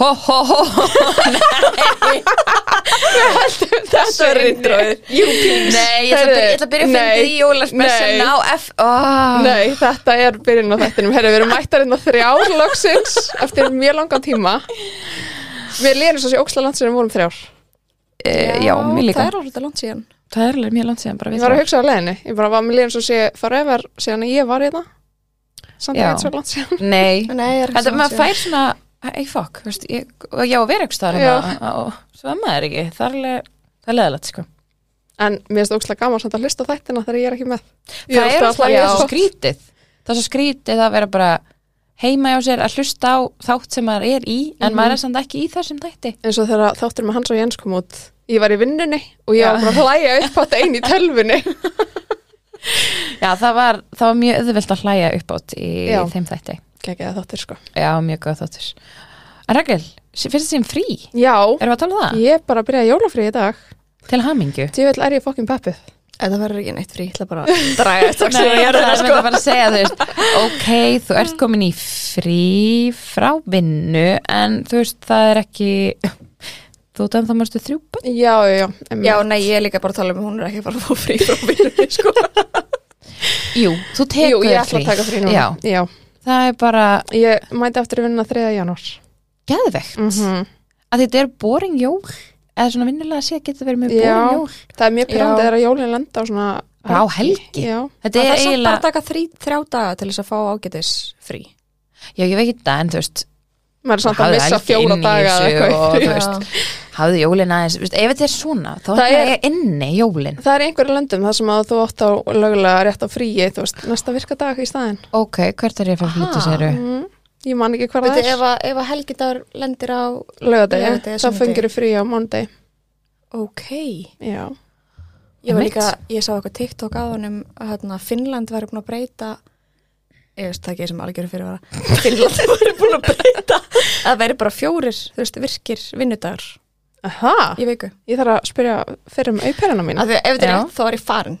Ho ho ho Nei Þetta er intróið. You please Nei, ég ætla að byrja, ég ætla að byrja að finna Nei. því jólaspessin Nei. á F oh. Nei, þetta er byrjun á þettinum. Herra, við erum mættar hérna þrjár loksins eftir mjög langan tíma. Við lýðum svo sé óksla land sem við vorum þrjár. Eh, Já, mér líka Það er orðið langt síðan Það er alveg mjög langt síðan bara Ég við var að þrjár. hugsa á leiðinni. Ég bara var með lýðum svo sé forever síðan að ég var hérna. Samt Já. er eitt svo langt síðan. Nei, Nei, er þetta maður um- fær svona Hey fuck, veist, ég, og ég á að vera ekki staðar Já. hérna og svo er maður ekki, það er alveg það er leðalegt sko En mér finnst óksla gaman samt að hlusta á þættina þegar ég er ekki með. Ég það er alltaf alltaf að já, um hlæja svo svo. skrítið það er svo skrítið að vera bara heima hjá sér að hlusta á þátt sem maður er í en Mhm. maður er samt ekki í þessum þætti eins og þegar þáttur með Hans og Jens kom út ég var í vinnunni og ég Já. var bara að hlæja upp á þetta einn í tölvunni já, það var, það var mjög öðvöld að hlæja upp átt í Já. þeim þætti Kekja þáttur sko já, mjög góð þáttur en Rakel, fyrst sem frí Já, erum við að tala um það? ég er bara að byrja jólafrí í dag til hamingju Djöfull er ég fokkin peppuð Þetta verður ekki neitt frí, ég ætla bara að draga þetta Nei, ég ætla að mynda bara að segja þú veist ok, þú ert komin í frí frá vinnu en þú veist, það er ekki þú ert ennþá mörstu þrjú börn Já, já, já, Já, nei, ég er líka bara að tala um að hún er ekki bara að fá frí frá vinnunni, sko Jú, þú tekur Jú, ég þér ætla að taka frí núna Já, það er bara Ég mæti aftur í vinnuna 3. janúar geðvegt Mhm. að þetta er boring jól eða svona vinnulega að sé að geta verið með Já, boring jól það er mjög pyrrandi Já. þegar jólinn lenda á svona Bara á helgi. Já, þetta Það er er samt bara eiginlega, að taka þrí, þrjá daga til þess að fá ágætis frí já ég veit það en þú veist maður er samt að hafðu missa helgi fjóra inn í daga eða þessu eitthvað. og þú Já. veist, hafðu jólin aðeins þú veist, ef þetta er svona, þá er Það það er- inni jólin Það er einhverju löndum þar sem að þú átt á lögulega rétt á fríi, þú veist, næsta virka dag í staðinn. ok, hvert er ég að fara að flýta sér Mm, ég man ekki hvað Veitu, það er. ef, að- ef að helgidagur lendir á Lögadegi, Laugardegi, þá sunnudegi. fengir þú frí á mándegi. Ok Ég Já. var Einmitt. líka, ég sá eitthvað TikTok á honum að hérna, Finnland væri búin að breyta Ég veist það ekki sem algjöru fyrir vara Finnland væri búin að breyta að væri bara fjórir, þú veist, virkir vinnudagur Aha, í viku ég þarf að spyrja fyrir um auperina mína. Af því að ef þetta er Já. rétt þá er ég farin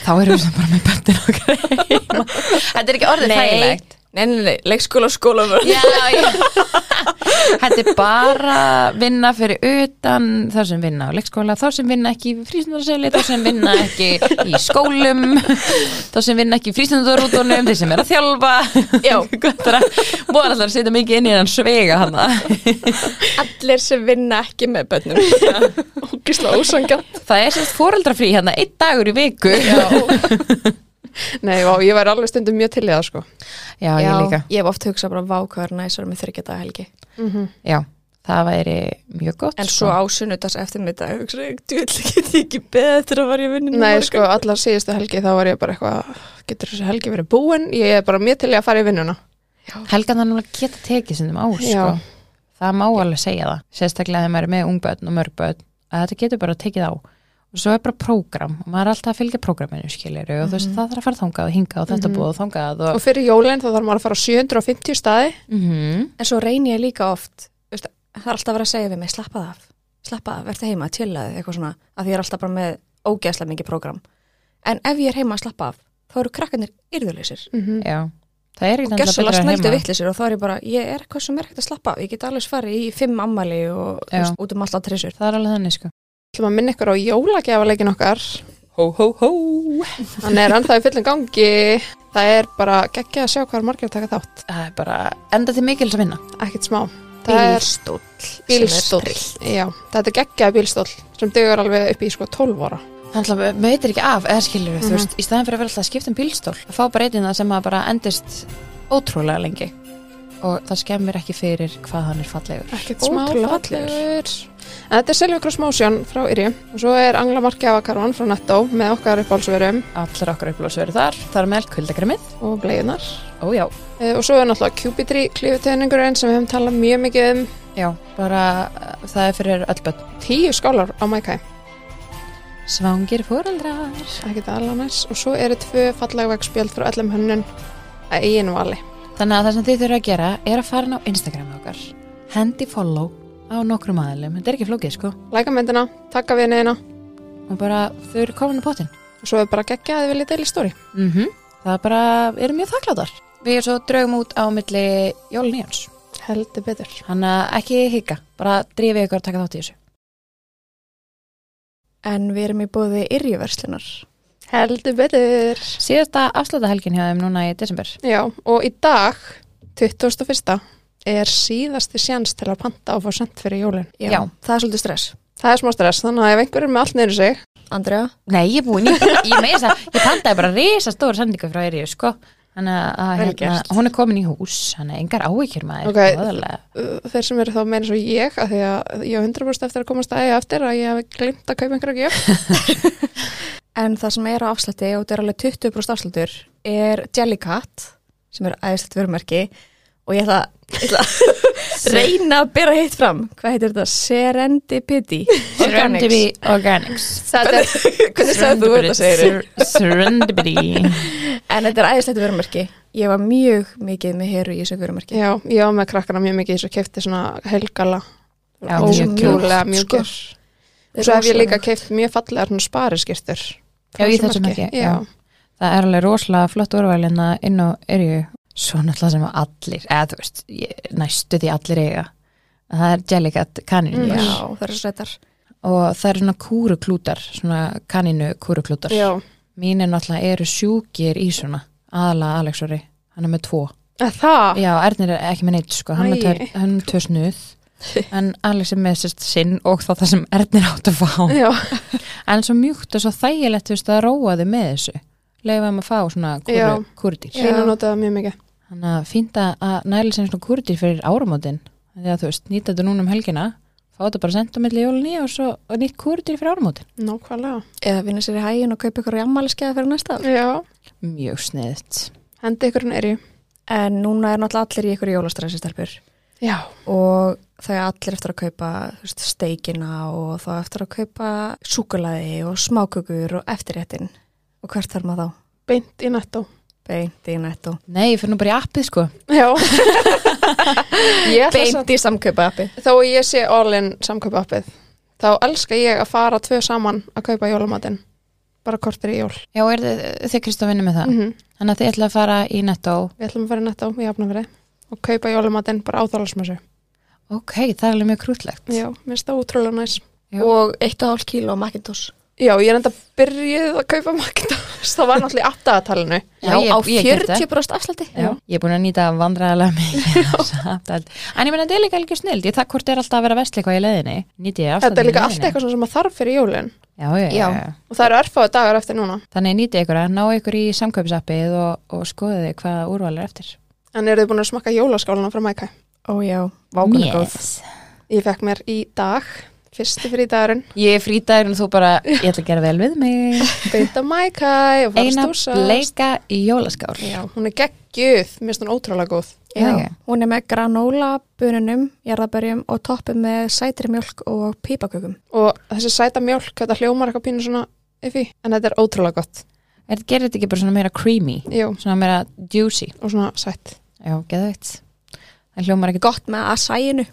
þá erum við samt bara með bættir okkar heima. þetta er ekki orðið þægilegt Nei, nei, nei, leikskóla og skóla Já, já. Þetta er bara vinna fyrir utan þá sem vinna á leikskóla, þá sem vinna ekki í frístundarseli, þá sem vinna ekki í skólum, þá sem vinna ekki í frístundarútunum, þeir sem er að þjálfa Já. Góðra, Móðan allar setja mikið inn í hann svega hana Allir sem vinna ekki með bönnum Ógisla ósangjant. Það er sérst foreldrafrí hérna, einn dagur í viku Já, Nei, vá, ég væri alveg stundum mjög til í það, sko. ég líka Ég hef oft hugsað bara vákvæður næsar með þryggjadag helgi Já, það væri mjög gott sko. En svo ásunnutas eftir mitt að hugsa ég, djúvel, get ég ekki betra var ég vinnin Nei, sko, allar síðustu helgi þá var ég bara eitthvað, getur þessi helgi verið búin? Ég er bara mjög til í að fara í vinnuna. Helgan það núna geta tekið sindum á Já. sko. það má alveg segja það sérstaklega þegar maður er með ungböðn og mörgböðn að þetta getur bara tekið á og svo er bara prógram og maður er alltaf að fylgja prógraminu skilur og þú veist það þarf að fara þangað og hingað og þetta búið og þangað Mhm. og Og fyrir jólinn þá þarf maður að fara á 750 staði. mm En svo reyni ég líka oft veist, Það er alltaf að vera að segja við mig, slappa það af Slappa það, verði heima, chillaði, eitthvað svona Af því ég er alltaf bara með ógeðslega mikið prógram En ef ég er heima að slappa af Þá eru krakkanir yrðuleysir já, það er Og ekki gjössalega að snældu vera heima vittlisir og þá er ég bara, ég er eitthvað sem er ekkert að slappa af Ég get alveg farið í fimm ammali og þú Já. veist, út um alltaf trissur það er alveg þannig sko Það maður minna ykkur á jólagjafleikin okkar. hó hó hó Hann er ennþá í fullum gangi. Það er bara geggja að sjá hvað er margir að taka þátt. það er bara enda til mikils að vinna Ekkert smá. Það er Bílstóll sem er bílstóll. trillt. Já, þetta er geggja bílstóll sem dugur alveg upp í sko 12 ára. þannig að maður veitir ekki af eða skilur Mhm. þú veist í staðin fyrir að vera alltaf að skipta um bílstól að fá bara einn það sem að bara endist ótrúlega lengi og það skemmir ekki fyrir hvað hann er fallegur Ekkert smá ótrúlega fallegur. fallegur. En þetta er Silvi Cross Motion frá Yri og svo er Angla Markjafa Karvan frá Netto með okkar uppáhalsverum allar okkar upplósu eru þar, þar með kuldakræmið og bleiðunar. Ó já, Eh, Og svo er náttúrulega Cupidri klífutöðningurinn sem við hefum talað mjög mikið um já, bara uh, það er fyrir öll börn. tíu skálar á Mækæ. Svangir fóraldrar. Ekkert aðlega næst. Og svo eru tvö fallega vegspjöld frá öllum hönnun að eigin vali. Þannig að það sem þið þurfa að gera er að fara inn á Instagram okkar, hendi follow á nokkrum aðilum, þetta er ekki flókið sko, Læka myndina, taka við neina og bara þau eru komin á pottin. og svo er bara geggja að þið viljið deila stóri. Mm -hmm. Það bara eru mjög þakkláttar. Við erum svo draugum út á milli jólun í hans. heldur betur Þannig að ekki hika, bara drifið ykkur að taka þátt í þessu. En við erum í bóði yrjuverslunar. heldur betur Síðasta afslutahelgin hjá þeim núna í desember. já, og í dag 21. er síðasti sjans til að panta og fá sendt fyrir jólin Já. Það er svolítið stress. það er smá stress, þannig að ef einhver er með allt niður í sig Andrea? Nei, ég er búin, ég, ég meðis að ég pantaði bara risa stóra sendingu frá Eiríu, sko. Þannig að Vel hérna, gert. hún er komin í hús, þannig að engar áhyggjur maður. Ok. voðalega. uh, þeir sem eru þá meira svo ég að því að ég á 100% eftir að komast aðeins eftir að ég hef glimt að kaupa einhverja gjöf En það sem er á afslætti og þetta er alveg 20% afslættur er Jellycat sem er æðislegt vörumerki og ég ætla, ég ætla að reyna að bera hitt fram. Hvað heitir þetta? Serendipity. Serendipity Organics. Þetta er, hvernig sagði þú þetta segir þau? Ser- Serendipity. En þetta er æðislegt vörumerki. Ég var mjög mikið með heru í þessu vörumerki. Já, ég var með krakkana mjög mikið í þessu kefti svona helgala Já, mjög ókjúlega kjúl, mjög sko. kjúl og svo hef ég líka keft mjög fallegar svona spariskirtur Já, í þessu merki, já. Það er alveg rosalega flott úrvalina inn á Eiríu. Svo náttúrulega sem að allir, eða þú veist, ég, næstu því allir eiga. Það er Jellicat kaninu. Já, það er svo réttar. og það eru svona kúruklútar svona kaninu kúruklútar já. mínir náttúrulega eru sjúkir í svona aðalega Alexori, hann er með tvo Að það, já, Ernir er ekki með neitt sko hann er Æi. með tvær- hann er með tvö snuð en Alex er með sérst sinn og þá það sem Ernir átt að fá já, en svo mjúkt og svo þægilegt þú veist að róa þau með þessu leifaðum að fá svona Já. kúru, kúrudýr Já. lína notaði mjög mikið þannig að fýnda að næli sem svona kúrudýr fyrir áramótin því að þú veist, nýta þetta núna um helgina fá þetta bara sendt á milli jólunni og svo og nýtt kúrudýr fyrir áramótin Nákvæmlega, Eða vinna sér í hægin og kaupa ykkur í ammæliskeða fyrir næsta ár. já, mjög sniðt hendi ykkur en er ég En núna er náttúrulega allir í ykkur jólastressi stelpur. Já, og þau eiga allir eftir að kaupa þú veist, steikina og þá eftir að kaupa súkulaði og smákökur og eftirréttin og hvert þarf maður þá? beint í nettó Beint í netto. Nei, ég fyrir nú bara í appið sko Já Ég ætla samt- Beint í samkaupa appi. Þó að ég sé all-in samkaupa appið þá elska ég að fara tvö saman að kaupa jólamatinn bara kortir í jól Já, er þið, þið Kristof vinni með það mm Þannig að þið ætla að fara í nettó Við ætlum að fara í nettó í afnafri og kaupa jólamatinn bara áþálasmessu Ok, það er alveg mjög krútlegt Já, mér finnst það útrúlega næs Já. Og 1,5 kíló Macintosh. Já, ég er enda byrjuð að kaupa Macintosh það var náttúrulega í aftagatalinu Já, ég- á ég get það. 40% afslætti. Já. Ég er búin að nýta vandræðalega mikið samt allt. En ég meina, þetta er líka alveg snild Ég það hvort er alltaf að vera vestli eitthvað í leiðinni Nýti ég afstæðin Þetta er líka allt eitthvað svona sem maður þarf fyrir jólin já, já, já. Já. já. og það eru erfáðu dagar eftir núna Þannig nýti ykkur að ná ykkur í samkaupsappið og, og skoðu þið hvað úrval er eftir En eru þið búin að smakka jólaskálana frá Mækæ? Ó já, vákunni góð. Ég fekk mér í dag, fyrsti fyrir dagurinn Ég er frítæður og þú bara, ég ætla að gera vel við mig beint á Mækæ og fara að Eina stúsast. bleika í jólaskál Já, hún er geggjuð, mér finnst hún ótrúlega góð Já, Já, já. hún er með granóla, bununum, jarðabörjum og toppum með sætri mjölk og pípakökum. og þessi sæta mjólk, þetta hljómar eitthvað pínu svona effi, en þetta er ótrúlega gott Er- Gerir þetta ekki bara svona meira creamy Jú, Svona meira juicy og svona sætt Já, geðveitt. Það hljómar ekki Gott með asæinu.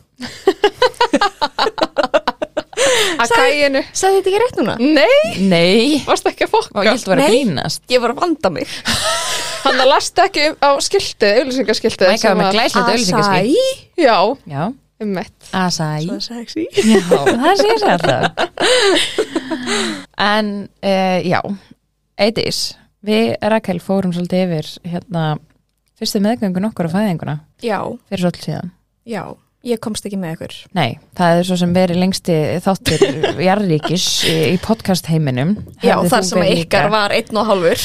Að kæinu Sæði þetta ekki rétt núna? Nei, Nei, varst ekki að og fokka ég held að vera að Nei. grínast Ég var að vanda mig. Hann að lasta ekki á skiltið, auðlýsingaskiltið Mæka var með glæslegt auðlýsingaskil Já, Já, um mitt asæ Svo sexy. Já, það sé sér alltaf En, uh, já Eidís, við Rakel fórum svolítið yfir hérna fyrstu meðgöngun okkur á fæðinguna Já, fyrir svolítið síðan já, ég komst ekki með ykkur. Nei, það er svo sem verið lengsti þáttur jarðríkis í, í podcast heiminum Já, þar sem ykkar var einn og hálfur.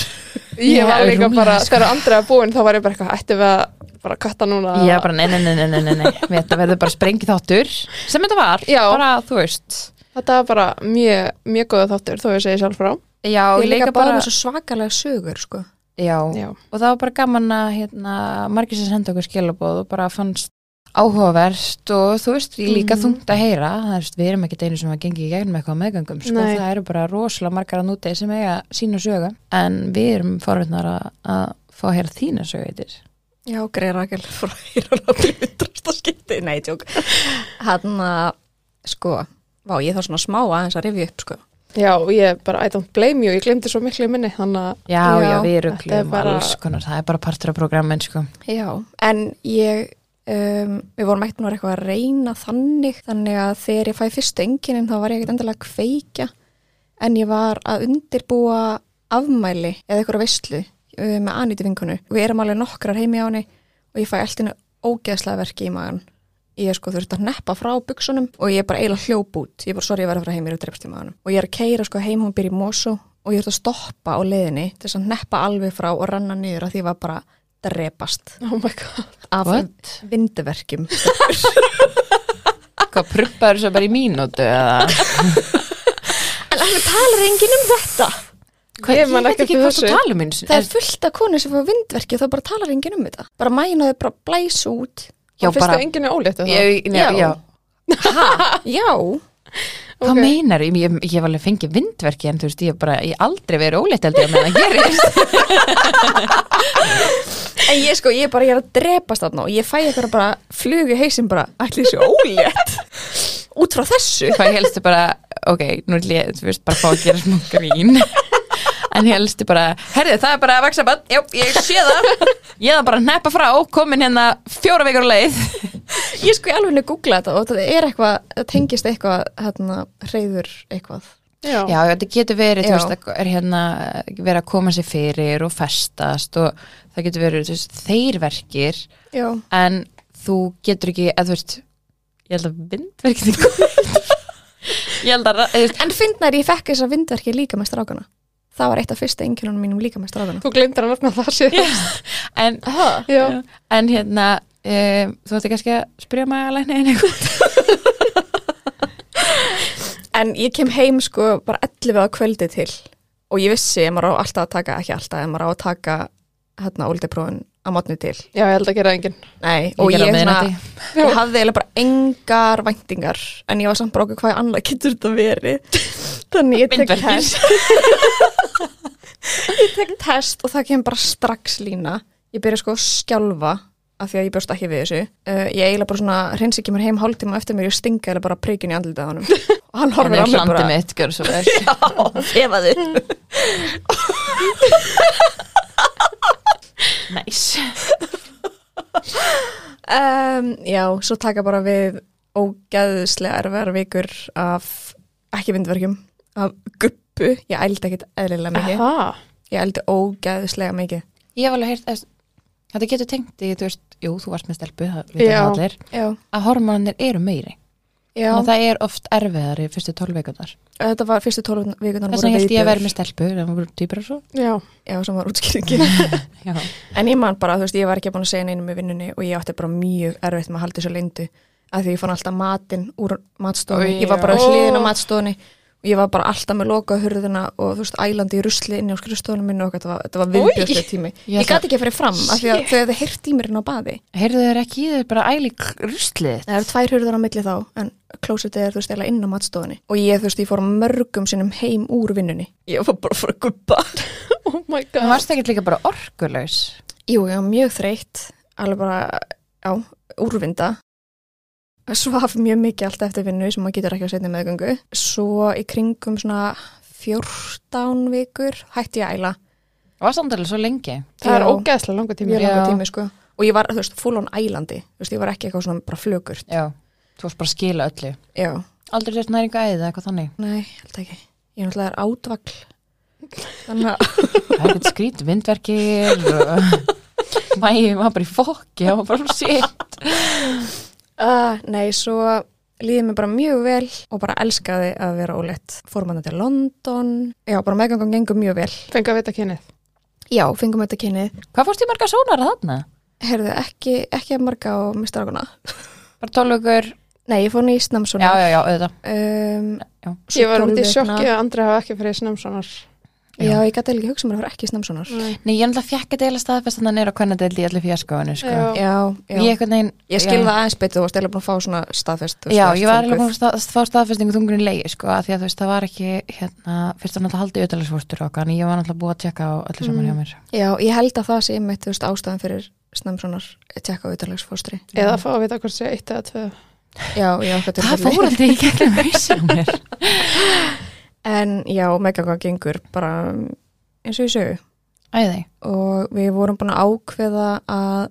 Ég Já, var líka rúmlega, bara, sko. þegar Andrea er búin þá var ég bara eitthvað, ættum við að bara katta núna Já, bara nei, nei, nei, nei, nei, nei, nei. Þetta verður bara sprengið þáttur sem þetta var, Já. bara þú veist Þetta var bara mjög, mjög góða þáttur þó ég segi sjálf frá Já, Ég líka bara með já, svo svakalega sögur, sko. Já, og það var bara gaman að hérna, margir sem senda okkur skilabóð og bara fannst áhugavert og þú veist, ég líka Mhm. þungt að heyra það veist, við erum ekki einu sem að gengi í gegnum eitthvað á meðgöngum, sko, Nei. það eru bara rosalega margar að núti sem eiga sína sögu en við erum forveitnar að, að fá að heyra þína sögu eittir Já, greið Rakel frá hérna til hundrasta skipti. Nei, tjók. Hann að, sko, vá, ég þarf svona smá aðeins að rifja upp, sko. Já, og ég bara, I don't blame you, ég glemdi svo miklu í minni Þannig að, Já, já, Já, við þetta er erum bara... bara- alls konar, það er bara partur af programmin sko. Já, en ég um, við vorum ekkert nú eitthvað að reyna þannig þannig að þegar ég fæ fyrstu enginin þá var ég ekkert endilega að kveikja en ég var að undirbúa afmæli eða eitthvað veistlu um, með anýti vinkonu og við erum alveg nokkrar heimi á henni og ég fæ alltaf ógeðslega verki í magan ég er sko þurft að neppa frá buksunum og ég er bara eiginlega hljóp út ég er bara sorry ég verið að fara heim, ég er að drefst í maðanum og ég er að keira sko heim, hún byrja í mosu og ég er að stoppa á leiðinni til þess að neppa alveg frá og ranna niður að því ég var bara að drepast Oh my god. af What? vindverkjum Hvað pruppaður svo bara í mínútu eða? en alveg talar enginn um þetta Hvað, Ég ég, man veit ekki ekki eftir hvað þú þessu. tala um eins það er fullt af konu sem fá vindverki og þá bara talar enginn um þetta bara mæna þau bara blæs út Já, Og fyrst bara að enginn er ólétt eða? ég, já, Já. já. ha, já Hvað Ok. okay. meinar, ég, ég, ég hef alveg fengið vindverki en þú veist, ég hef bara, ég hef aldrei verið ólétt held ég að meðan gerist En ég sko, ég bara, ég er að drepast þarna og ég fæ eitthvað bara flugu heisinn bara, ætli þessu ólétt út frá þessu. Hvað helstu bara, ok, nú er ég, þú veist, bara fá að gera smá grín En helstu bara, herðu, það er bara að vaksa bann, já, ég sé það Ég það bara að neppa frá, komin hérna fjóra veikar leið Ég sko, ég alveg henni googla þetta og þetta er eitthvað, það tengist eitthvað, hérna, hreyður eitthvað. Já. Já, þetta getur verið, þú Já. veist, það er hérna verið að koma sér fyrir og festast og það getur verið, þú veist, þeir verkir Já. en þú getur ekki, eða þú veist ég held að vindverkið er komið ég held að, ra- eða þú veist, En fyndnar ég fekk þess að vindverki líka með strákana. Það var eitt af fyrsta einkjörunum mínum líka með strákana. Þú glemdur að nefna það síðan. en, Aha. Já. en hérna um, þú ætti kannski að spyrja maður að læna einu En ég kem heim sko bara 11 að kvöldi til og ég vissi ef maður á alltaf að taka, ekki alltaf, ef maður á að taka hérna óldiprófin að mótni til. Já, ég held að gera enginn. Nei, og ég er svona- svona ég hafði eiginlega bara engar væntingar en ég var samt bara okkur hvað annað getur þetta verið þannig ég tek Myndverkir. test ég tek test og það kemur bara strax lína ég byrja sko að skjálfa af því að ég bjóst ekki við þessu uh, ég eiginlega bara svona hreins ekki mér heim hálftíma á eftir mér ég stinga eiginlega bara prikinu í andlitið á honum og hann hann horfir á er mig bara hlandi mitt, gjör svo vel efaði næs um, já, svo taka bara við ógeðslega erfiðar vikur af ekki vindverkjum af guppu, ég ældi ekkit eðlilega mikið, Það. ég ældi ógeðslega mikið ég hef alveg heyrt, eða þú veist, þetta getur tengt í, þú veist, jú, þú varst með stelpu það vita Já. það allir, já, að hormonir eru meiri já, og það er oft erfiðar í fyrstu tólveikundar þetta var fyrstu tólun vikunar þess vegna held ég að vera með stelpu en það voru týpur og svo Já. já, sem var útskýringi já. en ég man bara, þú veist, ég var ekki búin að segja neinum í vinnunni og ég átti bara mjög erfitt með að halda þessu lindu af því ég fann alltaf matinn úr matstofunni, Oj, ég var bara já. hliðin á matstofunni og ég var bara alltaf með lokað hurðina og þú veist, ælandi í rusli inni á skrifstofunum minni og eitthvað, þetta var, þetta var viðbjörnslega tími Ég ég ætla- gæti ekki að fyrir fram af því að þau hefði heyrt í mér inn á baði heyrðu þeir ekki, þau er bara æli ruslið það eru tvær hurðar á milli þá en klósetið er þú veist, eiginlega inn á matstofunni og ég, þú veist, ég fór mörgum sinnum heim úr vinnunni ég var bara að fara að guppa Oh my það god. varst ekki líka bara orkulaus Jú, ég var mjög þreytt, alveg bara, já, úrvinda. Svaf mjög mikið alltaf eftir vinnu sem maður getur ekki að setja meðgöngu. Svo í kringum svona 14 vikur hætti ég að æla. Var samtalið svo lengi? Það er Já. ógeðslega langa tími. Mjög langar Já. tími, sko. Og ég var, þú veist, full on ælandi. Þú veist, ég var ekki eitthvað svona bara flögur. Já, þú varst bara að skila öllu. Já, Aldrei sért næringa eða eitthvað þannig. nei, held ekki. Ég náttúrulega er átvagl. Þannig að, Það er eitthvað skrít, vindverkir og... Mæði var bara í fokki, það var bara sétt. uh, nei, svo líði mér bara mjög vel og bara elskaði að vera óleitt. Fórum hann til London. Já, bara meðgangan gengur mjög vel. Fengi að vita kynið. Já, fengum þetta kynnið. Hvað fórst í marga sónar þarna? Heyrðu, ekki, ekki að marga á mistaraguna. Bara tólvökur? Nei, ég fór hann í Já, Snamsona. já, já, auðvitað. Um, Já. svo Ég var út í tólf vikna. sjokki að Andri hafa ekki fyrir snömsonar. hérna- Já, ég gæti eiginlega ekki hugsað mér að fara ekki í Snamsonar. Nei, ég náttúrulega fjakk að deila staðfest þannig neyra hvernig deildi í allir fjaskoðinu, sko. Já. Já, já. Ég Ég, eitthvað neginn... ég skil það aðeins betur, þú varst eiginlega búin að fá svona staðfest. þú veist, Já, þú ert ég var þunguð. alveg búin að stað, fá staðfestingu þungurinn leiði, sko, að því að þú veist, það var ekki, hérna, fyrst var náttúrulega haldið auðvitaðlisvórstur okkar, en ég var náttúrulega búið að tjekka á öllu saman hjá mér. Já, ég held að það sé mitt, þú veist, ástæðan fyrir Snamsonar tjekka á ytterlegsfóstri. Eða að fá að vita hvort sé eitt eða tvö. Já, já, þetta Það fór aldrei í gegnum hausinn á mér. En já, meðgangan gengur bara um, eins og ég sögu. Æði. og við vorum búin að ákveða að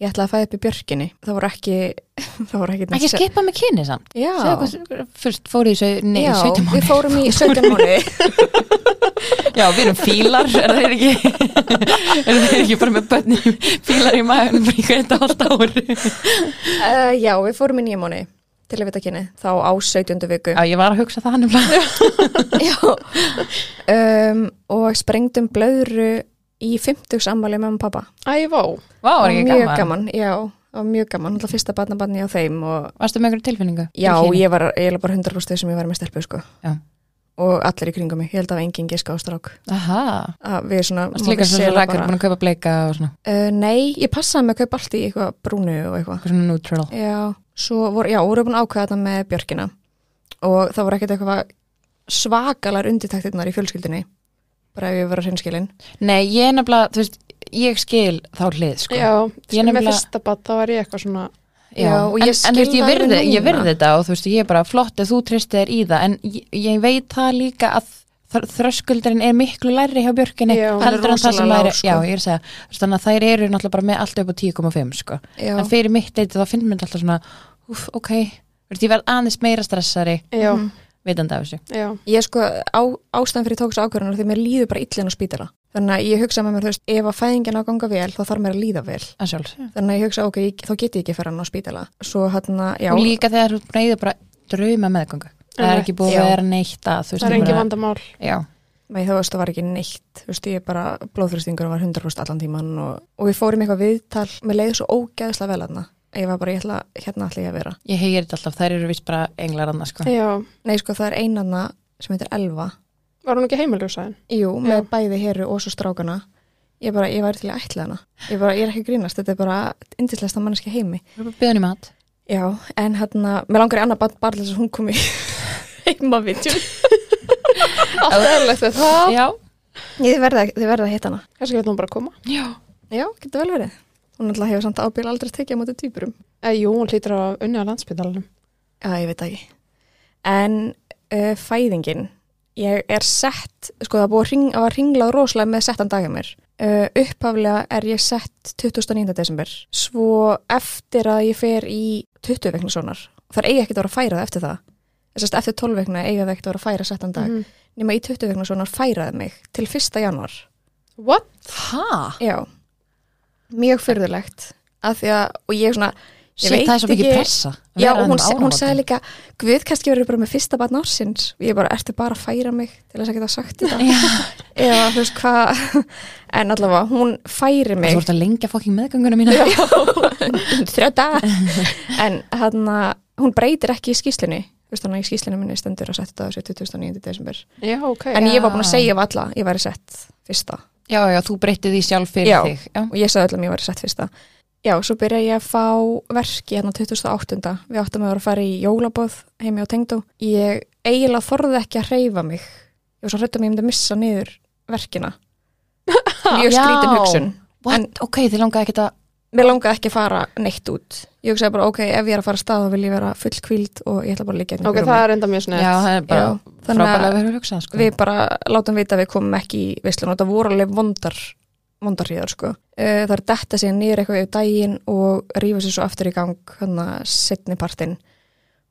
ég ætlaði að fæða upp í björkinni það voru ekki það voru ekki, Ekki skipa með kyni samt já, Segðu hvað- Fyrst fóru í sau- nei, já 17 mánuði við fórum í 17 mánuði Já, við erum fílar, er þeir ekki er þeir ekki bara með bönni fílar í maður bara í hvert hálft ári uh, já, við fórum í 9 mánuði til að vita kynni, þá á 17. viku Já, ég var að hugsa það hann um já um, og sprengdum blöðru í 50 ammali með mamma og pappa Æ, vá. Vá, var ekki mjög gaman. gaman, já, það var mjög gaman alltaf fyrsta barnabarni á þeim og Varstu með einhverju tilfinningu? já, Tilfinningu? ég var eiginlega bara 100% sem ég var með stelpu, sko Já. og allir í kringum mig, ég held að enginn giska á strák Aha, að við svona varstu líka svo rækjur búin að kaupa bleika og svona, uh, nei, ég passaði með að kaupa allt í eitthvað brúnu og eitthvað eitthvað svona neutral Já, svo voru, já, voru búin að ákveða þetta með Björkina og það voru ekkert eitthvað svakalar undirtaktirnar í fjölskyldinni bara ef ég var að hreinskilin Nei, ég er nefnilega, þú veist, ég skil þá hlið, sko Já, Ég sko, með nefnilega- fyrsta bad þá var ég eitthvað svona, Já, Já, og en, ég en þú skil veist, ég það alveg virði, ég núna. virði þetta og þú veist, ég er bara flott að þú tristir þér í það en ég, ég veit það líka að þr- þröskuldurinn er miklu læri hjá björkinni Já, hann er heldur en það sem rosalega læri, lágur, sko. já, ég er að segja þú veist, þannig að þær eru náttúrulega bara með allt upp á 10,5 sko. Já, en fyrir mitt leiti þá finnum við alltaf svona úf, ok, Þú veist, ég verð aðeins meira stressari já, vitandi af þessu já, ég sko á, ástæðan fyrir ég tók þessu ákvörðunar því mér líður bara illin á spítala þannig að ég hugsa með mér, þú veist, ef að fæðingin á að ganga vel þá þarf mér að líða vel að sjálfs þannig að ég hugsa, ok, ég, þá get ég ekki að fara hann á spítala svo hann að, já, og líka þegar þú breyður bara drauma meðgöngu það er Einmitt. ekki búið Já. að vera neitt að þú það er ég engin bara- vandamál. já, Nei, það veist, það var ekki neitt, þú veist, ég bara, blóðþrýstingur var 100% allan tíman og, og við fórum í eitthvað viðtal, mér leiði svo ógeðslega vel aðna, ég var bara, ég ætla, hérna ætla ég að vera. ég heyri þetta alltaf, þær eru vist bara englar annars sko. Já, Nei, sko, það er einanna sem heitir Elva, var hún ekki heimiljósaðin? jú, með bæði heru og svo strákana, ég bara, ég væri til að ætla hana, ég bara, ég er ekki að grínast, þetta er bara indislegasta manneski heimi. Þú eru bara að bjóða henni í mat Já, en hérna, mér langar í annað barn bara til þess að hún komi heima við, Alltaf eðlilegt við það. já, þið verða, þið verða að hitta hana. Kannski veit hún bara að koma. já Já, getur vel verið. Hún alltaf hefur samt ábyrð aldrei tekið á móti týpurum. Eh, jú, hún hlýtur að unni á landsbytalanum. Já, ég veit það ekki. En uh, fæðingin, ég er sett, sko það er búið að hring, var ringlað rosalega með settan dag hjá mér. Uh, upphaflega er ég sett 29. desember. Svo eftir að ég fer í 20 vekna sonar, þar eigi ekkert að vera að færa það eftir það. Þessast eftir 12 vekna eigi það ekkert að vera að færa settan dag. Mhm. Nema í 20 vekna sonar færaði mig til 1. januar. What? hæ? Já, mjög fyrðulegt. Að því að, og ég svona, ég Sitt, veit það er svo mikið ekki- pressa að Já, vera og hún, þarna um hún áramótin. sagði líka Guð, kannski verður bara með fyrsta barn ársins og ég bara, ertu bara að færa mig til þess að geta sagt þetta eða þú veist hvað en allavega, hún færi Þú mig ert að lengja fokking meðgönguna mína þrjóta en hann, hún breytir ekki í skýslunni þú veist þannig að í skýslunni minni stendur að setja þetta þessu 2009. desember Já, ok. en ég var búin Já. að segja við alla, ég væri sett fyrsta Já, já, þú breytti því sjálf fyrir Já. þig já. og ég sagði öllum að ég væri sett fyrsta Já, svo byrja ég að fá verki hérna 2008. Við áttum að vera að fara í jólabóð heimi á tengdó. Ég eiginlega þorði ekki að hreyfa mig. Ég var svo hrættum að ég myndi missa niður verkina. Mjög Já. skrítin hugsun. What? En- Ok, þið langaði ekki að Mér langaði ekki að fara neitt út. Ég hugsaði bara, ok, ef ég er að fara að stað þá vil ég vera full kvíld og ég ætla bara að liggja hérna í Ok, rúmi. það er enda mjög snett. Já, það er bara Já, þannig að- frábælega verið að hugsa sko. Við bara látum vita að við komum ekki í veislun og það voru alveg vondar, vondar hríðar sko. Eh, Það er detta síðan niður eitthvað yfir daginn og rífa sér svo aftur í gang hann að setni partinn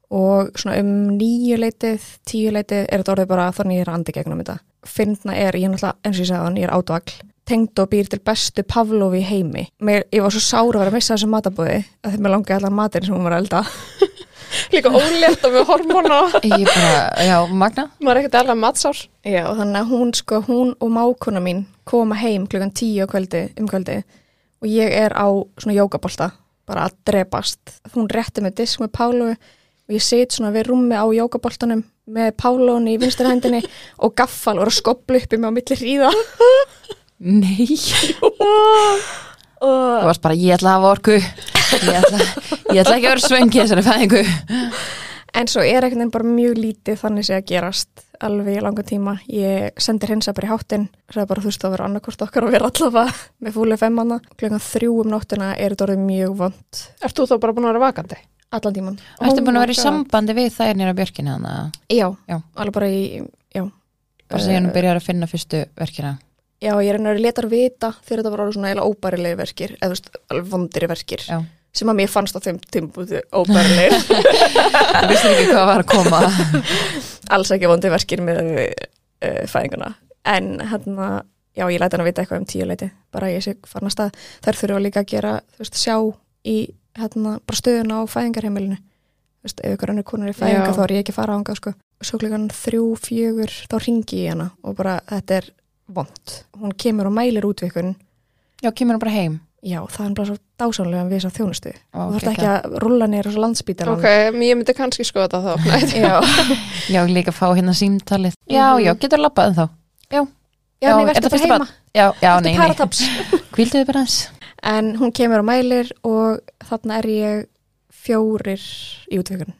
og svona um nýju leitið, tíu leitið er þetta orðið bara þannig ég er að andi gegnum þetta. Finna er, ég er náttúrulega, eins og ég sagði hann, ég er átvagl, tengd og býr til bestu Pavlov í heimi. Mér, ég var svo sára að vera að missa þessu matabóði að þeim mér langi allan matinn sem hún var að elda. Líka ólétt og með hormona. Ég bara, já, Magna Maður er ekkert alveg matsár. Já, og þannig að hún, sko, hún og mákona mín koma heim klukkan tíu á kvöldi, um kvöldi og ég er á svona jókabolta, bara að drepast. Hún rétti með disk með Pálu og ég sit svona við rúmi á jókaboltanum með Pálun í vinstri hendinni og gaffal og er að skobla uppi með á milli ríða. Nei Þú varst bara, ég ætla að hafa orku Ég ætla, ég ætla ekki að vera svengi þessari fæðingu En svo er ekkert bara mjög lítið þannig sé að gerast alveg í langan tíma. Ég sendi hreinsa bara í háttinn, það er bara þú veist að vera annarkort okkar og vera allavega með fúlu femmana. Klukkan þrjú um nóttina er þetta orðið mjög vond Ert þú þá bara búin að vera vakandi? allan tíman. Ertu Oh búin my að vera í God. sambandi við þær nýra björkina hana Já, Já. alveg bara í, já. Eh, Eh, Bara segja hann byrjar að finna fyrstu verkina já, ég er einhverjum letar vita þegar þetta var orðið svona eiginlega óbærilegir verkir eða þú veist, alveg vondiri verkir Já. sem að mér fannst á þeim tímpúti óbærilegir Ég vissi ekki hvað var að koma alls ekki vondi verkir með uh, fæðinguna en hérna, já, ég læti hann að vita eitthvað um tíu leiti bara ég sé farin að stað þær þurfa líka að gera, þú veist, sjá í hérna, bara stöðuna á fæðingarheimilinu þú veist, ef ykkur önnur konar er fæðinga Já. þá er ég ekki að fara ánga, sko svo klukkan þrjú, fjögur, þá ringi ég í hana og bara, þetta er vond hún kemur og mælir útvikun Já, kemur hann bara heim já, það er bara svo dásánlega við þess að þjónustu Ó, þú þarf geggjað. ekki að rulla neyra svo landsbítaran Ok, ég myndi kannski skoða það þá. Nei, já, Já, líka fá hérna símtalið Já, já, getur labbað þá já, nei, er það verður bara fyrsta heima barn? Já, já, nei, Þetta er nei, parataps hvíldu þið bara eins En hún kemur og mælir og þarna er ég fjórir í útvikun.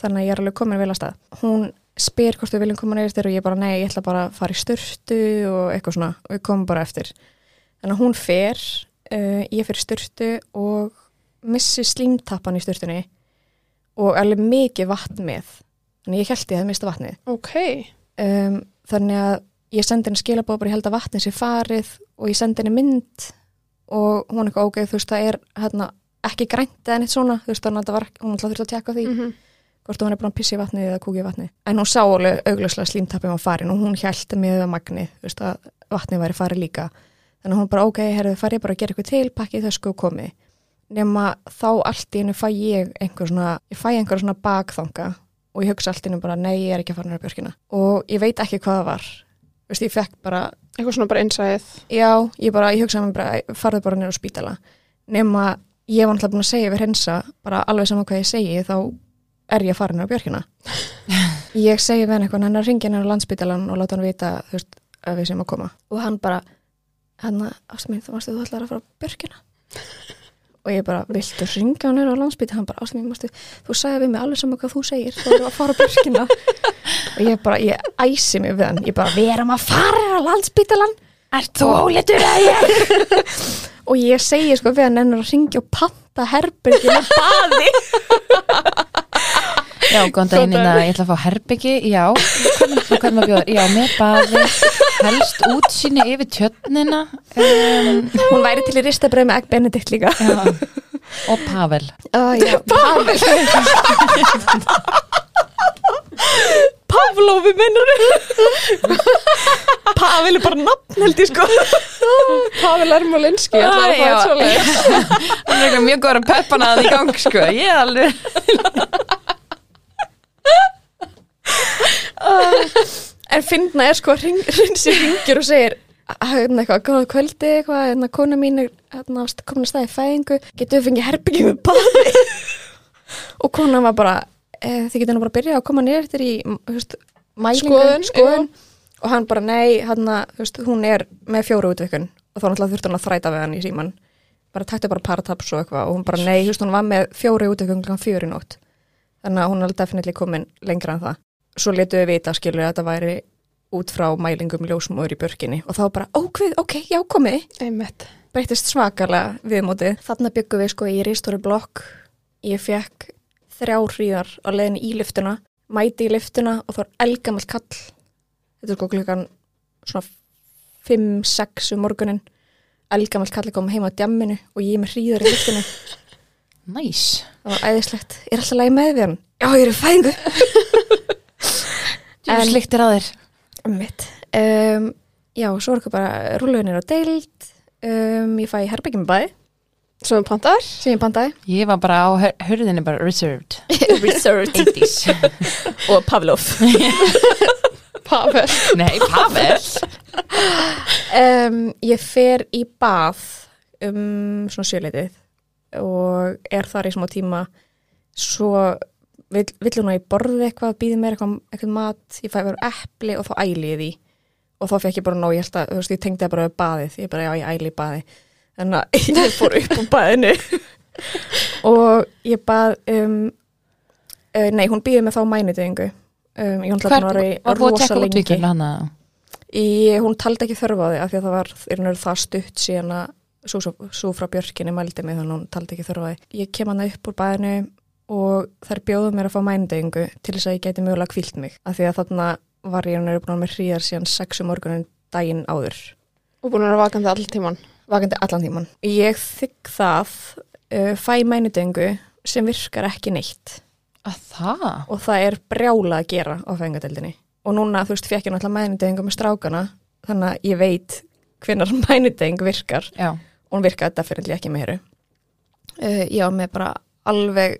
Þannig að ég er alveg komin vel að stað. Hún spyr hvort við viljum koma neyðist þér og ég bara nei, ég ætla bara að fara í styrtu og eitthvað svona og við komum bara eftir. Þannig að hún fer, uh, ég fer í styrtu og missi slímtappan í styrtunni og alveg mikið vatn með. Þannig að ég held ég að mista vatnið ok. um, þannig að ég sendi henni skilabóð bara ég held að vatni sé farið og ég sendi henni mynd og hún er eitthvað ógeð þú veist það er hérna, ekki grænt eða neitt svona þú veist þannig að þetta var, ekki- hún alltaf þurfti að tjekka á því Mhm. hvort hún er búin að pissi vatnið eða kúki vatnið en hún sá alveg augljóslega slímtappum á farin og hún hjælti með magni þú veist að vatnið væri farið líka þannig að hún bara ok, herðu farið bara að gera eitthvað til pakkið þess sko komi nema þá allt í hennu fæ ég einhver svona, ég fæ einhver svona bakþanga og ég hugsa allt í hennu bara nei, ég er ekki að fara nýra björkina og ég veit ekki hvað það var þú veist, ég fekk bara Eitthvað svona bara innsæðið. Já, ég bara, ég hugsaði mér bara, farðu bara nýra á spítala. Nema, ég var náttúrulega búin að segja við hreinsa, bara alveg saman hvað ég segi, þá er ég að fara nýra á björkina. ég segi við hann eitthvað, hann er að ringja nýra á landspítalan og láta hann vita, þú veist, að við sem að koma. Og hann bara, hann að, ástum mín, þú varstu, þú ætlar að fara á björkina. Og ég bara, viltu ringja hann nýra á landspítalan? Hann bara, ástum mín, mástu, þú sagði við mig alveg saman hvað þú segir, þú erum að fara á björkina. og ég bara, ég æsi mig við hann, ég bara, við erum að fara á landspítalan Ert þú óléttur að ég? og ég segi sko við hann ennur að ringja og panta herbyrgi með baði Já, góðan daginn Góðan inn ég ætla að fá herbyggi, já, hvernig hvernig maður bjóður, já, með baði, helst útsýni yfir tjötnina um, hún væri til í ristabröð með egg benedikt líka já, og Pavel. uh, já, Pavel Pavlovi mennur Pavel er bara nafn held ég sko Pavel Ermolinski, ég ætlaði að fá Ah, þetta já. svo leið. Það er eitthvað mjög góður að peppana það í gang, sko, ég er alveg. en finna er sko hrinsi ringir og segir hérna eitthvað, góða kvöldi eitthvað, hérna kona mín er hérna komin að staði fæðingu getur við fengið herbyggjum með baði og kona var bara e, þið getur nú bara að byrja að koma niður eftir í m, þú veist, mælingu, Skoðun, og hann bara nei, hérna, þú veist, hún er með fjóru útvikun og þá náttúrulega þurfti hann að þræta við hann í síman bara taktu bara parataps og eitthvað og hún bara nei, þú veist, hún var með fjóru útvikun klukkan fjóri nótt þannig að hún er alveg definitely komin lengra en það svo letu við vita skilur að þetta væri út frá mælingum ljósmóður í börkinni og þá bara, ókvið, ok, já komið Einmitt. breytist svakalega viðmótið. Þarna byggum við sko í ristóri blokk. Ég fekk þrjá hríðar á leiðinni í lyftuna, mæti í lyftuna og þá er elgamall kall. Þetta er sko klukkan svona 5-6 um morgunin. Elgamall kall er komið heima á djamminu og ég er með hríðar í lyftuna. Næs. Nice. Það var æðislegt. Er alltaf lægi með við hann? Já, ég er í fæðingu. Þú En- sliktir að þér. Mitt. Um, já, svo er okkur bara rúluðinir á deild. Um, ég fæ herbyggjum bæði Sem þú pantar. sem ég bandaði. Ég var bara á hör- hurðinni bara reserved. Reserved. 80s. og Pavlov. Pavel. Nei, Pavel. um, ég fer í bað um svona sjöleitið og er þar í smá tíma svo vill, vill hún að ég borði eitthvað, býði mér eitthvað, eitthvað mat ég fæ verið epli og þá æli ég því og þá fekk ég bara nóg, ég held að þú veist, ég tengdi það bara við baðið, ég bara já, ég æli í baði þannig að ég fór upp úr baðinu og ég bað um uh, nei, hún býði mig þá mænudegingu um, ég hún Hvað hlapin var í var búið að rosa tekka lengi útvíkjum hana? Ég, hún taldi ekki þörf á því af því að það var í raun og veru það stutt síðan að svo, svo, svo frá Björkinni mældi mig þannig að hún taldi ekki þörf á því. Ég kem hana upp úr bæðinu og þær bjóðu mér að fá mændingu til þess að ég gæti mögulega kvílt mig af því að þarna var ég hann eru búin að vera með hríðar síðan sexu morgunin um daginn áður og búin að vera vakandi all tíman vakandi allan tíman ég þykk það uh, fæ mænudöngu sem virkar ekki neitt Að það? og það er brjála að gera á fengadeldinni og núna þú veist fekk ég náttúrulega mænudöngu með strákana þannig að ég veit hvenar mænudöng virkar Já. og hún virkaði definitely ekki með hér uh, ég á með bara alveg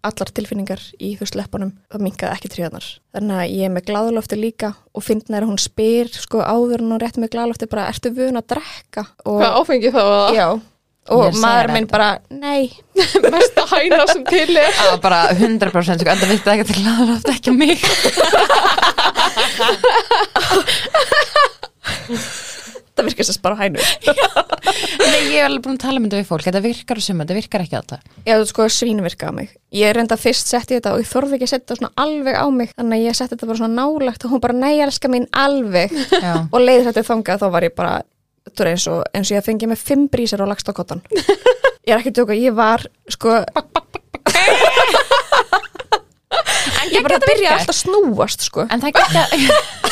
allar tilfinningar í þú sleppunum það minkaði ekki tríðanar þannig að ég er með gláðlofti líka og fyndna er að hún spyr sko áður en hún rétt með gláðlofti bara ertu vun að drekka og, hvað áfengi þá að já, Mér og segir maður þetta. minn bara nei, mesta hæna sem til er Það var bara 100% sko, enda vitt ekki til að það átti ekki á mig. það virkast að spara hænur Nei, ég er alveg búin að tala um þetta við fólk. Þetta virkar og suma, þetta virkar ekki alltaf. já, þú sko svínvirkaði mig ég reynda fyrst setti þetta og ég þorði ekki að setja þetta svona alveg á mig þannig að ég setti þetta bara svona nálagt og hún bara nei, elska mín alveg Já. og leið þetta þangað þá var ég bara þú veist, eins og, eins og ég fengið með fimm brísar og lagst á kottan ég er ekki að tjóka, ég var sko ég bara byrja alltaf að snúast sko En það geta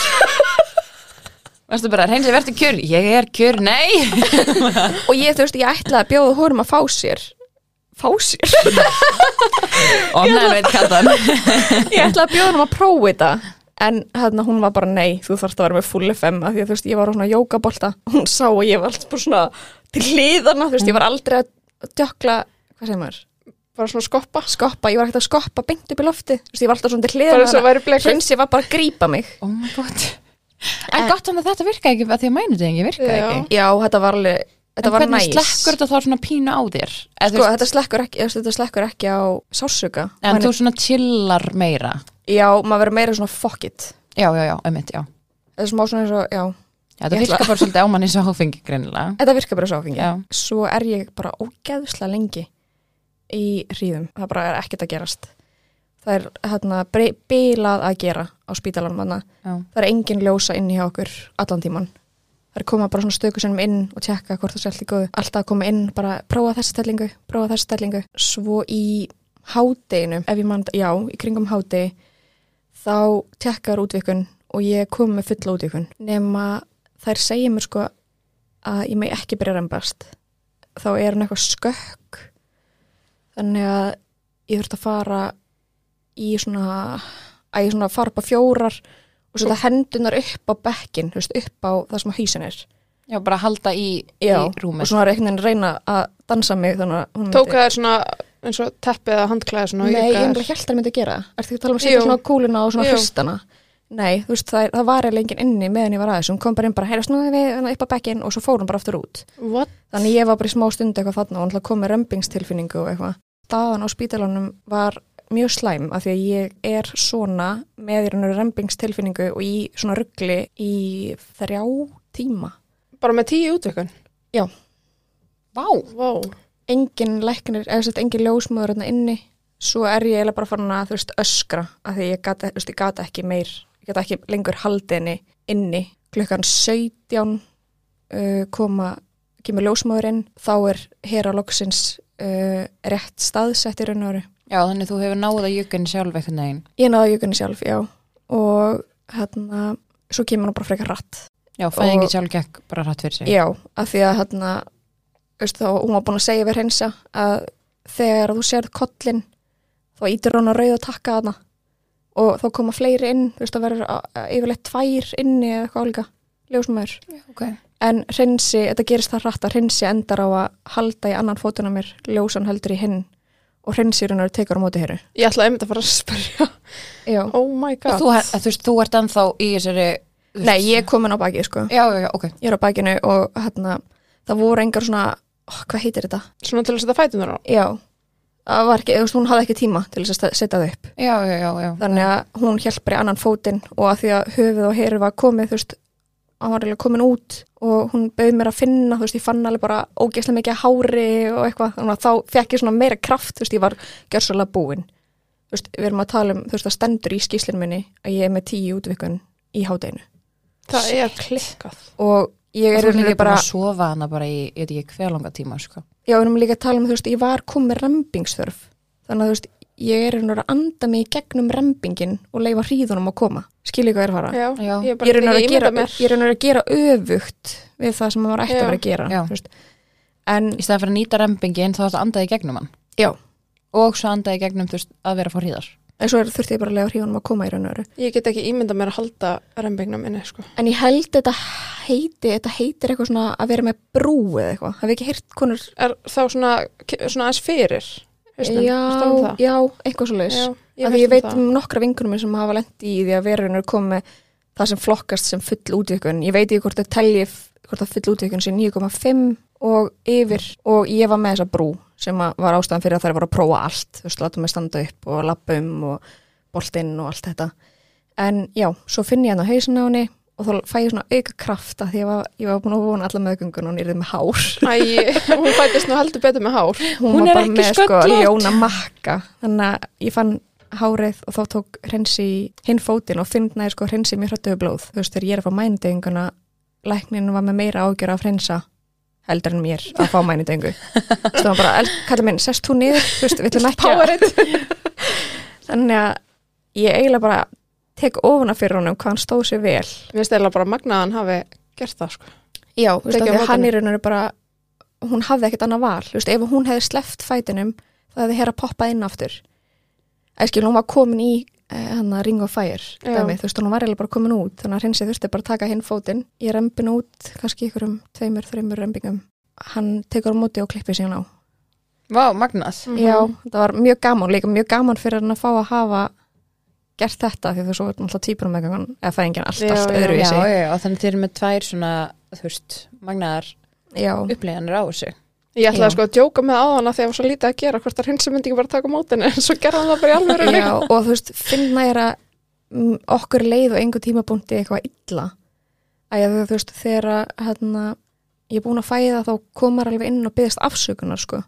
Varstu bara, reynsið, verður kjur Ég er kjur, nei og ég, þú veist, ég ætlaði að bjóða honum að fá sér fá sér? Ofnaður veit kallan ég ætlaði að bjóða honum að prófa þetta en hérna hún var bara nei, þú þarfst að vera með full FM af því að þú veist, ég var á svona jókabolta hún sá að ég var alltaf bara svona til hliðana, þú veist, ég var aldrei að djökla, hvað segir maður? bara svona skoppa skoppa, ég var ekkert að skoppa beint upp í lofti þú veist, ég var alltaf svona til Bara eins og væri hliðan blekur. hrinsi var bara að grípa mig Oh my god En gott hann að þetta virka ekki að Því að mænudegingi virka Já. ekki já, þetta var alveg, þetta En var hvernig næs slekkur þetta þá svona pínu á þér Eð, sko, þetta slekkur ekki, þú veist, þetta slekkur ekki á sásuga En þú svona chillar meira já, maður verður meira svona fuck it Já, já, já, einmitt, já þetta er smá svona eins og, já, Þetta Ég ætla- virka bara svolítið á manni svo hófengi greinilega þetta virkar bara svo áfengi Já. svo er ég bara ógeðslega lengi í hríðum, það bara er ekkert að gerast það er hérna bre- bilað að gera á spítalanum þannig Já, það er engin ljósa inn hjá okkur allan tíman það er koma bara svona stöku sem inn og tjekka hvort það sé allt í góðu alltaf að koma inn, bara prófa þessa stellingu prófa þessa stellingu svo í hádeginu, ef ég mann já, í kringum hádegi þá tjekkar útvikun og ég kom með fulla útvikun nema þær segja mér sko að ég megi ekki byrja að rembast þá er hann eitthvað skökk þannig að ég þurfti að fara í svona að ég svona fara upp á fjórar og setja hendunar upp á bekkin þú veist, upp á það sem að hýsin er já bara halda í, í Já, og rúmið svona er einhvern veginn að reyna að dansa mig þannig að hún tóka þér svona eins og teppið eða handklæði svona og Nei, ég juka þær? einhverja held að myndi að gera það Ertu ekki að tala um að setja Jú. svona kúluna og svona Jú. hristana Nei, þú veist, það, það var eiginlega enginn inni meðan ég var aðeins Hún kom bara inn bara, heyrðu snúðum við hérna upp á bekkin og svo fór hún bara aftur út What? Þannig ég var bara í smá stund eitthvað þarna og hann kom með römbingstilfinningu og eitthvað Staðan á spítalanum var mjög slæm af því að ég er svona með í rauninu römbingstilfinningu og í svona ruggli í þrjá tíma bara með tíu útvikun Vá, wow. engin læknir, eða sett engin ljósmöður hérna inni, svo er ég eiginlega bara farin að þú veist öskra, af því ég gata, veist, ég gata ekki meir, ég gata ekki lengur haldinni inni, klukkan 17 uh, koma kemur ljósmöðurinn, þá er hera loksins uh, rétt staðsett í raun og veru. já þannig þú hefur náða jökun sjálf eitthvað negin Ég náði jökunni sjálf, já og hérna, svo kemur hann bara frekar rætt Já, fæðingi Og- sjálf gekk bara rætt fyrir sig Já, af því að hérna, veist, þá, hún var búin að segja við hreinsa að þegar þú sérð kollin þá ítur hún að rauða takka hana og þá koma fleiri inn, þú veist, það verður a- a- yfirleitt tvær inni eða eitthvað álíka, ljósmaður. okay. En hreinsi, þetta gerist það rætt að hreinsi endar á að halda í annan fótuna mér, ljósan heldur í hinn og hreinsirinn tekur á móti hér. ég ætlaði einmitt að fara að spyrja Já. oh my Og god þú, þú, veist, þú ert ennþá í þessari þú Nei, veist- ég er komin á bakið, sko. Já, já, já, ok Ég er á bakinu og hérna, það voru engar svona, oh, hvað heitir þetta? svona til að setja fætunar á Já, það var ekki, þú veist, hún hafði ekki tíma til þess að setja það upp. Já, já, já, já. Þannig að hún hjálp bara í annan fótinn og að því að höfuð og heru var komið, þú veist, hann var eiginlega komin út og hún bauð mér að finna, þú veist, ég fann alveg bara ógeðslega mikið af hári og eitthvað, þannig að þá fekk ég svona meira kraft, þú veist, ég var gjörsalega búin. Þú veist, við erum að tala um, þú veist, það stendur í skýslinu minni að ég er með tíu útvikun í hádeginu það er klikkað og ég Ég er er í rauninni líka bara að sofa hana bara í, ég veit ekki hver langa tíma, sko. Já, við erum líka að tala um, þú veist, ég var komið rambingsþörf. Þannig að, þú veist, ég er einhver að anda mig í gegnum rembingin og leifa hríðunum að koma skilji hvað ég er að fara Já, Já. ég er ég er bara einhver að, gera- mér ég er raunar að gera öfugt við það sem maður ætti Já. að vera að gera Já. þú veist. en í staðan fyrir að nýta rempingin þá ætla að andaði gegnum hann já, og svo andaði gegnum þú veist, að vera fór hríðar en svo er, þurfti ég bara að leifa hríðunum að koma í raun og öru Ég get ekki ímynda mér að halda rembingna minni sko. en ég held þetta heiti þetta heitir eitthvað svona að vera með brú eða eitthvað, hafið ekki heyrt konur Er þá svona, svona aðeins fyrir hausnum? Ertu um já, það? já, eitthvað svo leis Já, Af hef því heyrt ég um veit um nokkra vingunum sem hafa lendi í því að vera raunar komið það sem flokkast sem full útvikun. Ég veit ekki hvort það telji hvort það full útvikun sé 9,5 og yfir og ég var með þessa brú sem að var ástæðan fyrir að þær voru að prófa allt. Þú veist, látum mig standa upp og lappa um og boltinn og allt þetta. En já, svo finn ég hann á hausin á henni og þá fæ ég svona auka kraft af því ég var, ég var búin að vona alla meðgöngun og hún yrði með hár. Æ, hún fættist nú heldur betur með hár Hún, Hún var er bara ekki með sko sköllótt. ljóna makka. Þannig að ég fann hárið og þá tók hreinsi í hinn fótinn og finnaði sko hreinsi mér hröttuðu blóð. Þú veist, þegar ég er að fá mænudenguna, læknin var með meira ágjör af hreinsa heldur en mér að fá mænudengu. Þú veist, það var bara, "El- kallið minn, sest þú niður, þú veist, við ætlum ekki að... Þannig að ég eiginlega bara tek ofuna fyrir honum hvað hann stóð sér vel. Mér stela bara magnað að hann hafi gert það sko. Já, þú veist, Tekið af á því að móti hann henni. í raun og veru bara hún hafði ekkert annað val, þú veist, ef hún hefði sleppt fætinum, það hefði hér að poppa inn aftur eða skil, hún var komin í eh, hann að ring of fire Já. dæmi, þú veist, hún var eiginlega bara komin út þannig að hreinsið þurfti bara að taka hinn fótinn ég rembin út, kannski ykkur um tveimur, þreimur rembingum, hann tekur á móti og klippir síðan á, Vá, magnað Mhm. já, það var mjög gaman líka mjög gaman fyrir hann að fá að hafa gert þetta, því þú svo er alltaf týpur með gangan, eða fæðingin allt, Já, allt já. Já, öðruvísi já, já, þannig þeir eru með tvær svona, þú veist, magnaðar já, upplýðanir á þessu Ég ætlaði Já. sko að djóka með áðan að því að það var svo lítið að gera hvort það hreins myndi ekki bara taka mótinu en svo gerði hann það bara í alvöru Já, og þú veist, finna er að mm, okkur leið og einhver tímabúndi eitthvað illa að þú veist, þegar að, hérna, ég er búin að fæða þá komar alveg inn og byggðist afsökunar sko,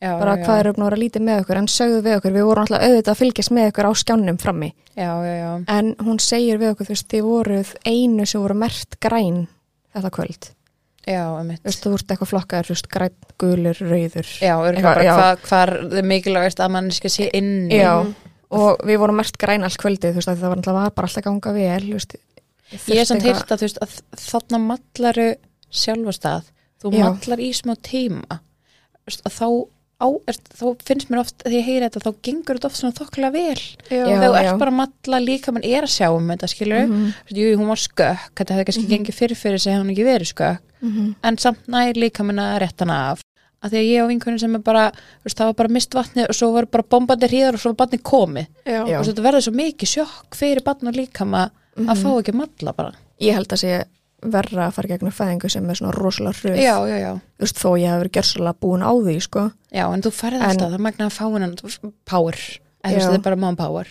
Já, bara já, hvað er uppnáður að lítið með okkur en sögðu við okkur, við vorum alltaf auðvitað að fylgjast með okkur á skjánum frammi Já, já, já, en hún segir við okkur, þú veist, þið voruð einu sem voru mert græn þetta kvöld, já, emitt þú veist, þú voruð eitthvað flokkaður, þú veist, græn, gulur, rauður Já, örgulega Eitthvað, bara já. hvað, hvað er þið mikilvægast að mannski sé inn í? Já, og við vorum mert græn allt kvöldið, þú veist, af því það var alltaf var bara alltaf ganga vel, þú veist Ég er samt þurfti heyrt að eitthvað- þú veist að þarna mallaru sjálfastað, þú Já. mallar í smá tíma Þú veist, að þá Á, er, þá finnst mér oft, þegar ég heyri þetta þá gengur þetta oft svona þokkulega vel Já, Mhm. þegar þú já. ert bara að matla líka mann er að sjá um þetta skilur mm jú, jú, hún var skökk þetta hefði kannski gengið fyrir fyrir sig hefði hún ekki verið skökk Mhm. en samt nær líka minna réttan af að því að ég og vinkunni sem er bara þú veist, það var bara mist vatnið og svo var bara bombandi hríðar og svo var barnið komið Já. Já. Mhm. og þetta verður svo mikið sjokk fyrir barn og líkama að fá ekki að matla bara ég held að sé verra að fara gegnum fæðingu sem er svona rosalega hröð já, já, já, þú veist þó ég hef verið gjörsalega búin á því sko. já, en þú færði En- alltaf það er magna að fá hennan þú veist, power, eða þú veist, Já. þetta er bara mom power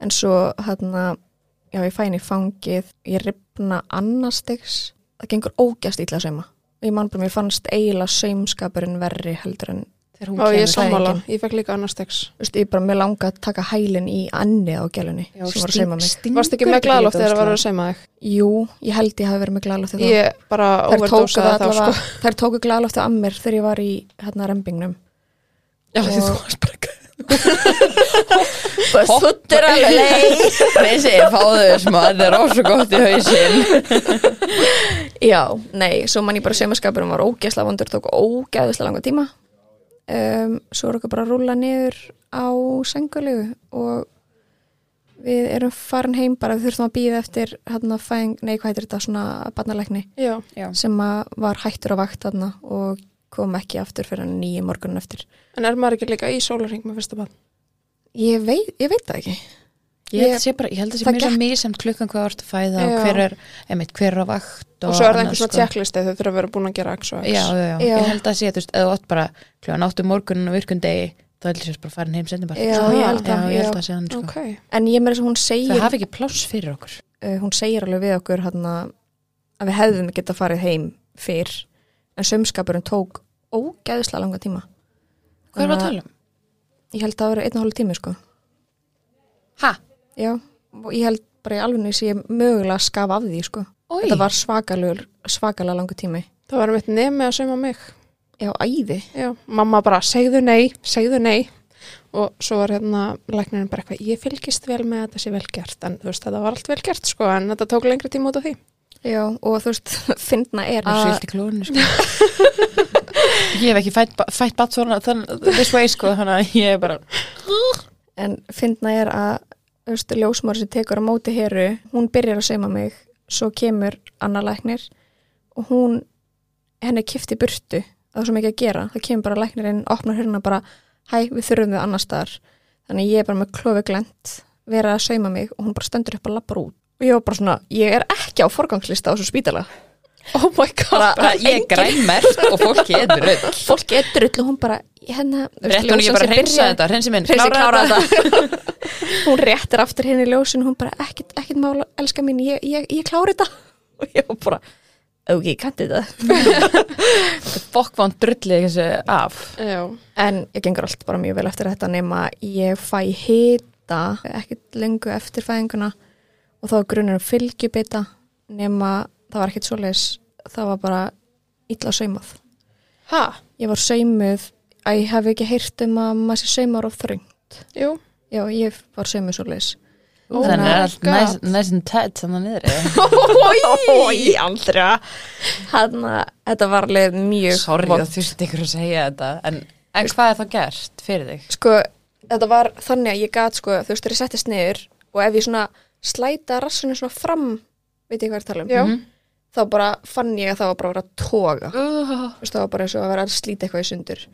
en svo hérna já ég fæ henni í fangið ég ripna annars stegs það gengur ógjast illa að sauma og ég man bara mér fannst eiginlega saumskapurinn verri heldur en þegar hún Og ég er kemur sammála, ég fekk líka annars tegs þú veist ég bara mér langa að taka hælinn í annið á gælunni Já, sem var að sting- sauma mig stingur Varst ekki með ekki glæðloft þetta þegar það var að ógeðslega? seima þig? jú ég held ég hafi verið með glæðlófti þá sko. Ég bara þær tóku, overdosaði þá sko allavega, þær tóku glæðlófti að mér þegar ég var í hérna rembingnum Já, því þú varst bara Hottur alveg leið Þessi, fáðu þér smá, þetta er ósa gott í hausinn Já, nei, svo mann ég bara sömaskapurum var ógeðslega vondur, tók ógeðslega langa tíma um, svo er okkur bara að rúla niður á sengulegu og við erum farin heim bara við þurftum að býða eftir hérna fæðing, nei hvað heitir þetta, svona barnalækni Já, Já, sem að var hættur á vakt þarna og kom ekki aftur fyrir nýju morgunin eftir en er maður ekki líka í sólarring með fyrsta bann? Ég veit, ég veit það ekki ég held að sé bara, ég held að sé Það mér sem mísamt klukkan hvað vart að fæða Já. og hver er, einmitt, hver er á vakt Og svo er það annað, einhver svona sko. checklisti þau þurfa að vera búin að gera x og já, x já, já, Já. ég held að sé, þú veist, eða þú átt bara klukkan áttu morgunin og virkum degi þá held ég sést bara farin heim sendin bara Já, ég held já, það, ég já. held að sé hann, sko Ok, En ég með þess að hún segir Það hafi ekki pláss fyrir okkur uh, hún segir alveg við okkur hana, að við hefðum geta farið heim fyrr en sömskapurinn tók ógæðislega langa tíma Hvað er það að Þannig tala um? ég held að það verið einn og hálf tími sko Ha? já, og ég held bara í alveg sé ég mögulega að skafa af því sko Oj. þetta var svakalur, svakalega langa tími það var mitt nemi að seima mig já, æði Já, mamma bara, segðu nei, segðu nei og svo var hérna læknirinn bara eitthvað, ég fylgist vel með að þetta sé vel gert en þú veist, þetta var allt vel gert sko en þetta tók lengri tíma út af því Já, og þú veist, fyndna er Það er að sýlt í klónu sko. Ég hef ekki fætt, ba- fætt bat svona þann, this way sko, þannig að ég er bara en fyndna er að þú veist, ljósmári sem tekur á móti heru hún byrjar að seima mig svo kemur annar læknir og hún, henni er kipti burtu það er svo mikið að gera, það kemur bara læknirinn opnar hérna bara, hæ, við þurfum við annar staðar, þannig ég er bara með klofi glend, vera að sauma mig og hún bara stendur upp að labbar út og ég var bara svona, ég er ekki á forgangslista á þessu spítala Oh my god, bara, ég er grænmert og fólki er rödd fólk er drull og hún bara hérna, þú veist, Rétt hún ég bara ljósin reynsa sem byrjaði- þetta, reynsi minn, Hreinsi klára klára þetta þetta Hún réttir aftur henni ljósin Hún bara, ekkert, ekkert mála, elska mín Ég, ég, ég klára þetta Og ég var bara, ok, kannti þetta Fokk var hann drullið þessu af Já, En ég gengur allt bara mjög vel eftir þetta Nefn að ég fæ hita Ekkert lengu eftir fæðinguna Og þá er grunur um fylgjubita Nefn að það var ekkert svoleiðis Það var bara illa saumað ha, Ég var saumuð að ég hef ekki heyrt um að maður sé saumar of þröng jú Já, ég var saumuð svoleiðis Oh Þannig my er allt God. næs- næs and tight þannig niður Ói, aldra Hanna, þetta var leið mjög Sorry vond. að þú sett ykkur að segja þetta en, en hvað er þá gert fyrir þig? Sko, þetta var þannig að ég gat sko, þú veist, þegar ég settist niður og ef ég svona slæta rassinu svona fram veit ég hvað ég er að tala um Já, þá bara fann ég að það var bara að vera að toga Uh, Þú veist, það var bara eins og að vera að slíta eitthvað í sundur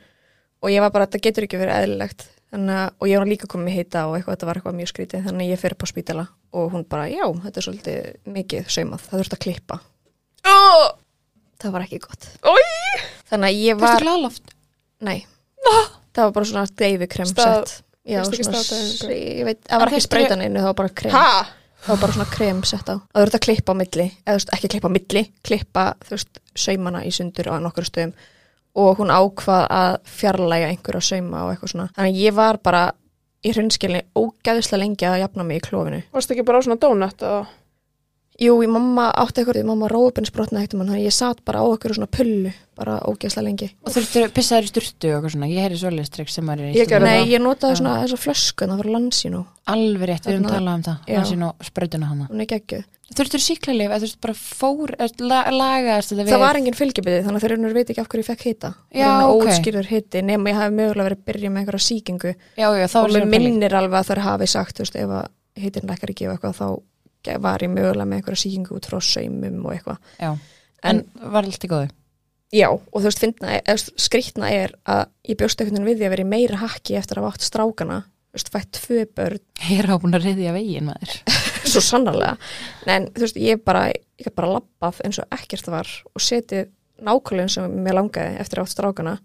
og ég var bara, þetta getur ekki verið eðlilegt þannig að, og ég var líka komið hita og eitthvað, þetta var eitthvað mjög skrítið, þannig að ég fyrir på spítala og hún bara, já, þetta er svolítið mikið saumað, það þurft að klippa oh, það var ekki gott Oj! þannig að ég Fyrstu var glálóft? Nei, það var bara svona deyfikrem Stað- sett Já, Veistu ekki svona, staðdæfingu? s- ég veit, það var En ekki fékkstu- sprautan innu, það var bara krem ha, Það var bara svona krem sett á Það verður að klippa á milli, eða þú veist, ekki klippa á milli klippa, þú veist, saumana í sundur á nokkur stöðum og hún ákvað að fjarlæga einhverja sauma og eitthvað svona Þannig að ég var bara í hreinskilni ógæðislega lengi að jafna mig í klófinu varstu ekki bara á svona donut og Jú, í mamma átti eitthvað, mamma róðbensbrotna eitt um hann, þannig að ég satt bara á eitthvað svona pullu, bara ógæðislega lengi Og þurftur að pissa þér í sturtu og eitthvað svona Ég heyri svoleiðis trygg sem maður er í Ég gerði stundum. það. Nei, ég notaði svona þessa flösku, það var lansinu, Alveg rétt, við erum Þarna- talað um það Já. Það sé nú sprautuna hana hún er geggjöð. Þurftur síklarlif, eða þú veist bara fór eða la- lagaðist þetta við Það var engin fylgjubitið, þannig að þeir unnur veit ekki af hverju ég fekk hita. Já, ok. ok. Óskýrur hiti, nema ég hafi mögulega verið að byrja með einhverja sýkingu Já, já, þá og var mér sér að pæling. minnir alveg að þær hafi sagt, þú veist, ef að hitin lækkar ekki og eitthvað, þá ge- var ég mögulega með einhverja sýkingu út frá saumum og eitthvað. Já, en, En, var allt í góðu já, og þú veist, fyndna, er- eða, þú veist, skrýtna er að ég bjóst einhvern veginn við því að vera í meira hakki eftir að hafa átt strákana, þú veist, fætt tvö börn Ég er á búin að reyðja veginn maður svo sannarlega en þú veist, ég bara, ég gat bara labbað eins og ekkert var og setið nákvæmlega eins og mér langaði eftir átt strákana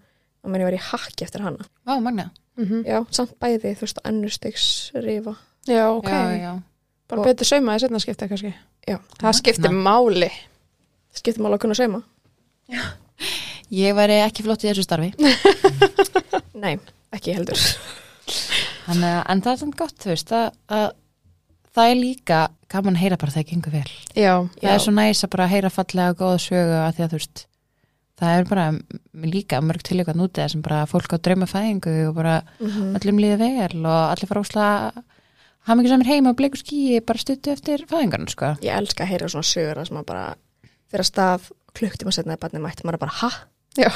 og menn ég var í hakki eftir hana Vá, magna Mhm. já, samt bæði, þú veist, annur stegs rifa Já, ok, já, já. bara betur saumaði setna skipta kannski já, Það skiptir Hérna. máli skiptum alveg að kunna sauma Ég væri ekki flott í þessu starfi nei, ekki heldur Þannig að, en það er samt gott, þú veist, að, að það er líka gaman að heyra bara þegar gengur vel. Já, Það er svo næs að bara heyra fallega og góða sögu að því að þú veist, það er bara m- líka mörg tilíka nútið sem bara fólk á draumafæðingu og bara öllum líði vel og allir fara ósla hafa mikið samir heima og bleiku skýi bara stuttu eftir fæðingarnu, sko. ég elska að heyra svona sögur að sem að bara fyrir að stað klukktum að setna að barni mætt maður er bara, ha? já,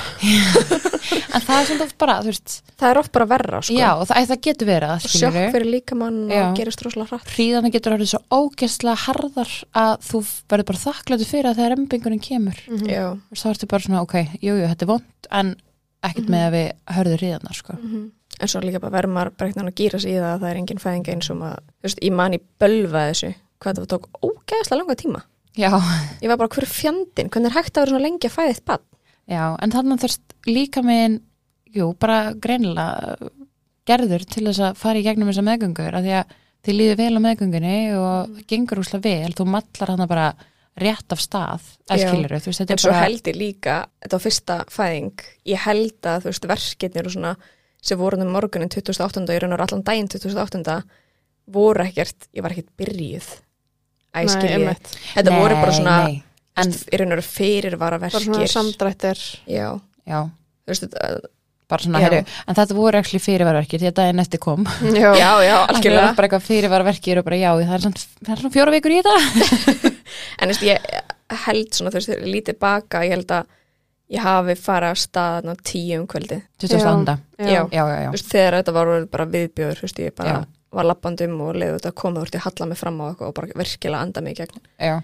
En það er svona oft bara, þú veist, Það er oft bara verra, sko já, og það, æ, það getur verið að og skilur sjokk fyrir líkamann Já. og gerist rosalega hratt hríðana getur orðið svo ógæslega harðar að þú verður bara þakkláttu fyrir að þegar embingurinn kemur. já, og svo ertu bara svona, ok, jú, jú, þetta er vond en ekkert Mhm. með að við hörðu ríðana sko. en svo líka bara verður maður breknan að gýra sig í það að það er engin fæðing eins og maður, þú veist, ég man í bölva þessu, hvað það tók ógeðslega langa tíma. já, Ég var bara hver fjandin, hvernig er hægt að vera svona lengi að fæði eitt bann? já, en þannig þurft líka minn, jú, bara greinilega uh, gerður til þess að fara í gegnum þessa meðgöngur af því að þið líður vel á meðgöngunni og Mm. það gengur úslega vel, þú mallar hana bara rétt af stað, Já. eskilur þú veist, þetta En er svo bara, held ég líka, þetta var fyrsta fæðing, ég held að þú veist verkefnir og svona sem voru um morgunin 2008 og ég raunar allan daginn 2008 voru ekkert, ég var ekkert byrjuð. Æ, Nei, skil ég. einmitt. Þetta voru bara Nei, svona, nei. en, en, ég raunar fyrirvara bara svona verkir. samdrættir Já, já, þú veist, þetta- bara svona, Já. heru, en þetta voru ekki fyrirvarverkir því að daginn eftir kom já, já, já Af því að það var algjörlega bara eitthvað fyrirvarverkir og bara já, það er svona, það er svona fjóra vikur í þetta En en veist, ég held svona þú veist, þegar ég lítið baka, ég held að ég hafi farið af stað ná, tíu um kvöldi 2000. Já. Já, já, já, Þú veist, þegar þetta var orðið bara viðbjöður þú veist, ég bara Já. var lappandum og leiði þetta að koma þú ert að halla mig fram á eitthvað og bara virkilega anda mig í gegn já.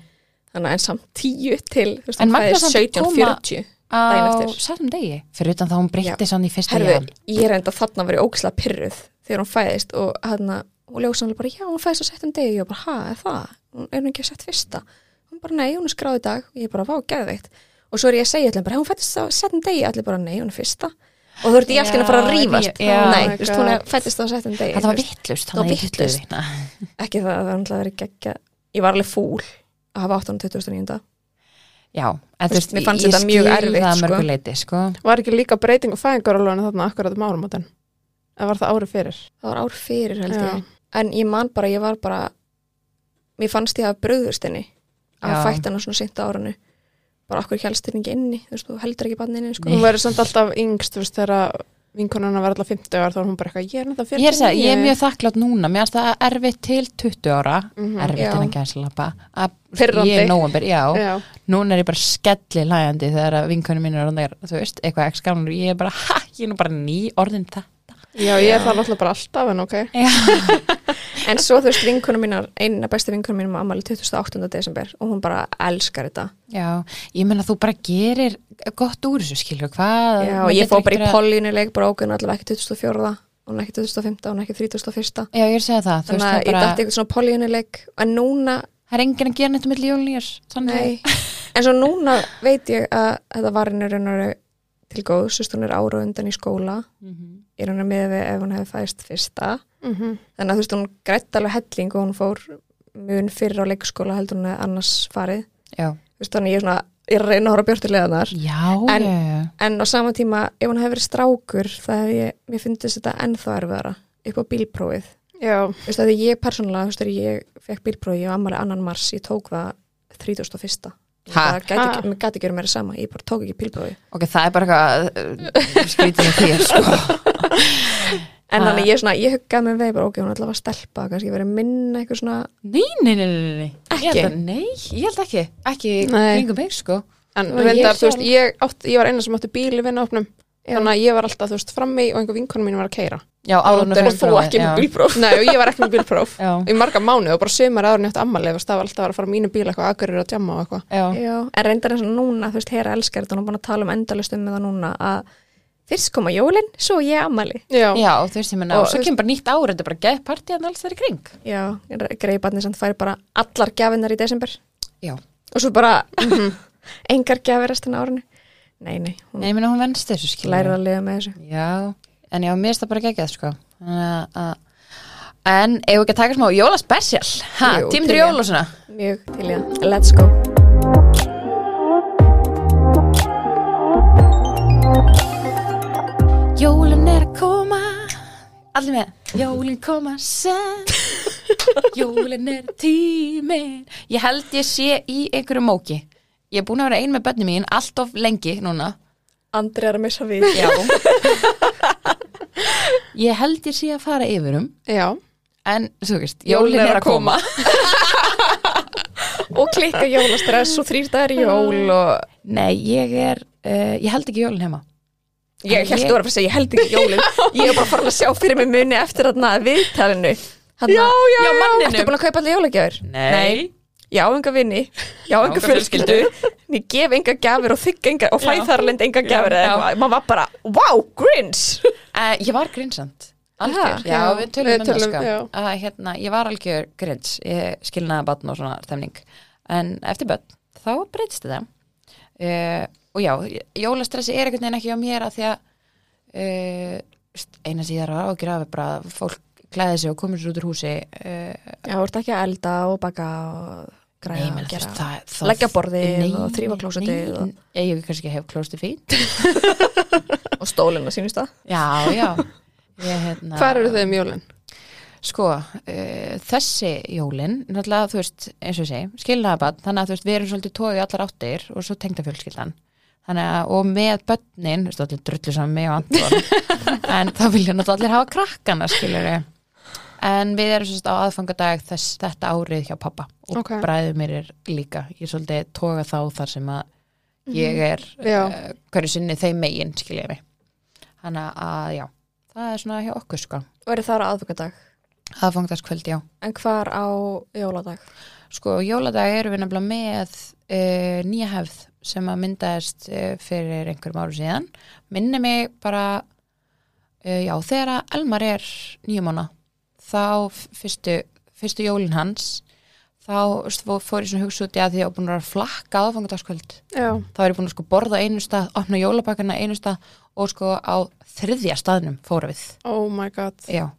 þannig að en samt tíu til þú veist, En hún magnað fæðist samt 17.40 á Daginn eftir. sætum degi fyrir utan þá hún breytti sann í fyrsta herfi, ján ég er enda þarna að vera óksla pyrruð þegar hún fæðist og hérna og ljósanlega bara, já, hún fæðist á settum degi og ég bara, ha, er það? Hún er hún ekki að sett fyrsta hún bara, nei, hún er skráð í dag og ég bara, vá, geðveikt og svo er ég að segja allir bara, "Hey, hún fættist á settum degi allir bara, nei, hún er fyrsta og þú ert í allt í einu að fara að Já, rífast já. nei, Oh þú veist, hún er fættist á settum degi þetta þú var veist. vittlust það var vitlaust. ekki það, það var náttúrulega verið geggja ég var alveg fúl að hafa 8. 29. já, en þú veist, Mér fannst ég þetta mjög skil erfitt, það sko. mörguleiti sko. Var ekki líka breyting á fæðingarólunum þarna akkurat um áramótin? Eða var það ári fyrir? það var ár fyrir held Já. ég en ég man bara, ég var bara mér fannst ég að bröðust henni að Já. fætta hana svona sint á árunni bara okkur helst henni ekki inni þú veist, þú heldur ekki bann inni sko. Hún verður samt alltaf yngst, þú veist, þegar vinkonuna var alltaf 50 ára, þá var hún bara eitthvað, ég er náttúrulega 49. ég, er að segja, ég er mjög þakklátt núna mér er það erfitt til 20 ára erfitt Mhm, já. innan gæslappa Að- Pirrandi. ég er nóvambir, já, Já, núna er ég bara skelli lægandi þegar að vinkunum mín er orðnar, þú veist, eitthvað ekki skamur ég er bara, ha, ég er nú bara ný orðin það já, ég er það náttúrulega bara alltaf, en ok. en svo þú veist, vinkunum mínar eina besti vinkunum mínum ammali 28. desember og hún bara elskar þetta já, ég meina þú bara gerir gott úr þessu, skilur, hvað já, maður og ég getur fór bara ekkert í að- pollinu leik bara okkur allavega ekki 24. hún ekki 2015, hún ekki 31. já, ég er að segja það, þú veist, þannig það að ég dætti bara eitthvað svona pollinu leik en núna það er enginn að gera neitt með ljónlýjar þannig, Nei, en svo núna veit ég að þetta var henni raunar til góðs, þú veist, hún er ára á undan í skóla Mhm. ég raunar með við ef hún hefði fæðist fyrsta Mm -hmm. þannig að þú veist, hún grætt alveg helling og hún fór mun fyrir á leikskóla heldur hún að annars farið já, þú veist, þannig að ég er svona, ég er að reyna að horfa björtulega þar já, En- já, já. en á sama tíma, ef hún hefði verið strákur það hefði ég, mér fyndist þetta ennþá erfiðara upp á bílprófið Já, þú veist, að því ég persónulega, þú veist, þegar ég fekk bílprófið, ég var ammali annan mars, ég tók það 31. Ég Ha? bara gæti Ha? ekki- mér gæti ekki verið meira sama, ég bara tók ekki bílprófið ok, það er bara eitthvað uh, skrítið í þér, sko En Ha. þannig ég, svona, ég huggaði með veið bara, ok, hún er allavega stelpa, kannski verið minna eitthvað svona, nei, nei, nei, nei, nei. Ég held Ekki? að- nei, ég held ekki ekki Nei. kringum mig, sko en Og ég reyndar, þú sjálf. veist, ég, átt, ég var eina sem átti bíl í vinnaopnum, þannig að ég var alltaf, þú veist, frammi og einhver vinkonum mín var að keira. já, áður en Og þú þú ekki með bílpróf. Nei, og ég var ekki með bílpróf. já, Í marga mánu og bara sömur áður njátt ammali, það var alltaf að fara á mínu bíl eitthvað, agurir og djamma og eitthvað. já, já, en reyndar eins og núna, þú veist, heyra elskar þetta, hún er búin að tala um endalust um með það núna, að fyrst koma jólin, svo ég amali. Já, Já, og þú veist, ég menna, Og og svo þú kemur bara nýtt ár, þetta er bara geð partíðan alls þar í kring. Já, greiði barnið samt fær bara allar gjafinnar í desember Já. og svo bara engar gjafir restina af árinu. Nei, Mhm. nei, hún Nei, ég menna, hún venst þessu skilur. lærir að lifa með þessu. Já, en já, mér er það bara geggjað, sko. Þannig að- En eigum við ekki að taka smá jólaspecial? Ha, Jú, tímdur til í. jól og svona? Mjög til ég að, let's go. Jólin er að koma Allir með Jólin koma sem Jólin er tímin Ég held ég sé í einhverju móki Ég er búin að vera ein með bönni mín allt of lengi núna Andri er að missa við. Já Ég held ég sé að fara yfir um já. En, svo veist, jólin er að koma og klikka jólastress og þrýr dagar í jól og Nei, ég er uh, Ég held ekki jólin heima Ég held þú var að fara að segja, ég held ekki jólin Ég er bara farin að sjá fyrir mig muni eftir þarna viðtalinu Hanna, Já, já, já, manninum. Ertu búin að kaupa allir jólagjafir? Nei, Já, enga vinni, já, enga enga fjölskyldu Ég gef enga gjafir og þykka enga og fæð þarlind enga gjafir eða já. eitthvað Man var bara, wow, grins Uh, ég var grinsand Algjör, já, Já, við tölum um við það tölum, sko já. að hérna, ég var algjör grins ég skilnaði batn og svona stemning en eftir börn, þá breytst þetta uh, og já jólastressi er einhvern veginn ekki á mér að því að uh, eina síðar á ágjur af er bara að fólk klæði sig og komur sér út úr húsi uh, Já, þú ert ekki að elda og baka og nei, græja menn, og þú veist, gera það, það, Leggja borðið Nei, og þrífa klósettið nei, og- nei, ég kannski hef klósettið fínt Og stólinn að sínist það já, já ég, hérna, Hvar eru þau um jólinn? Sko, uh, þessi jólin, náttúrulega, þú veist, eins og ég segi, skilnaðabann, þannig að þú veist, við erum svolítið tóið í allar áttir og svo tengda fjölskyldan. þannig að, og með börnin, þú veist, allir drullu saman með mig og Anton en þá vilja náttúrulega allir hafa krakkana, skilur ég en við erum sérst á aðfangadag þess, þetta árið hjá pappa og Ok. bræðu mér er líka ég er svolítið toga þá þar sem að ég er Já. uh, hverju sinni þeim megin, skilja ég mig þannig að já, það er svona hjá okkur sko, Og eru það á aðvöggadag? aðfangdagskvöld, já En hvar á jóladag? Sko, jóladag erum við nefnilega með uh, nýja hefð sem að myndaðist uh, fyrir einhverjum árum síðan. Minni mig bara, uh, já, þegar að Elmar er nýjumána, þá f- fyrstu, fyrstu jólin hans, þá veist, fó- fór ég svona hugsa út í að því að ég var búin að vera að flakka aðfangardagskvöld. Já. Þá er ég búin að sko borða á einu stað, opna jólabakana á einu stað og sko á þriðja staðnum fóra við. Oh my god. Já,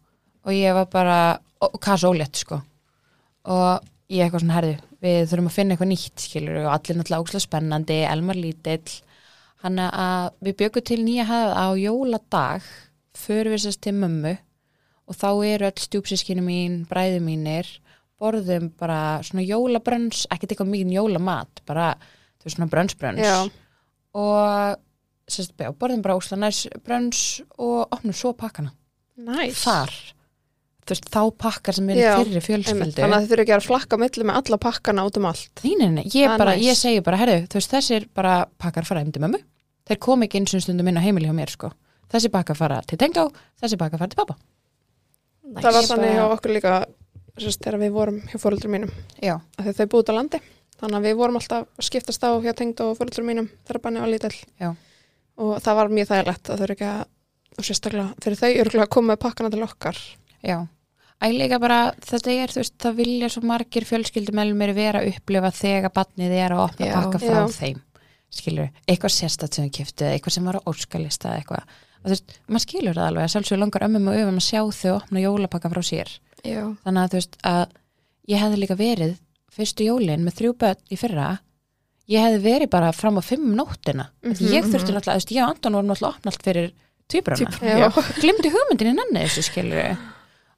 og ég var bara og kasa ólétt sko og ég eitthvað svona herðu við þurfum að finna eitthvað nýtt skilur og allir náttúrulega ókslega spennandi, Elmar lítill hann að við bjögum til nýja hefð á jóladag förum við sérst til mömmu og þá eru öll stjúpsískinu mín, bræði mínir borðum bara svona jólabrönns ekkert eitthvað mikið jólamat bara þú veist svona brönnsbrönns Já. og sérst, já, borðum bara ókslega næs brönns og opnum svo pakkana Nice. þar þú veist, þá pakkar sem eru Já, þeirri Einmitt, fjölskyldu Þannig að þið þurfum ekki að flakka á milli með alla pakkana út um allt. Þíninni, ég, Ah, bara, nice. ég segi bara, herru, þú veist, þessir bara pakkar fara heim til mömmu, þeir kom ekki eins og stundum inn á heimili hjá mér, sko þessi pakkar fara til tengdó, þessi pakkar fara til pappa Næs. Það var Ég þannig bara- hjá okkur líka sérst, þegar við vorum hjá fóröldur mínum. Já, Af því að þau búið út á landi. Þannig að við vorum alltaf að skiptast á hjá tengd og fóröldur mínum þegar banni var lítill. Já. Og það var mjög þægilegt að þau eru ekki að, og sérstaklega fyrir þau örgulega að koma með pakkana til okkar. já Æ, líka bara, þetta er, þú veist, það vilja svo margir fjölskyldum elmir vera að upplifa þegar barnið er að opna Já. pakka frá Já. þeim skilur, eitthvað sérstætt sem kiftu eitthvað sem var á óskalista eða eitthvað og þú veist, maður skilur það alveg að sjálfsögur langar ömmum og öfum að sjá þau opna jólapakka frá sér Já. þannig að þú veist að ég hefði líka verið fyrstu jólin með þrjú börn í fyrra ég hefði verið bara fram á fimm um nóttina mm ég Mhm, þurfti náttúrulega, þú veist, ég og Anton vorum náttúrulega opna allt fyrir tvíbrana Já. glimti hugmyndinni nanni þessu skilur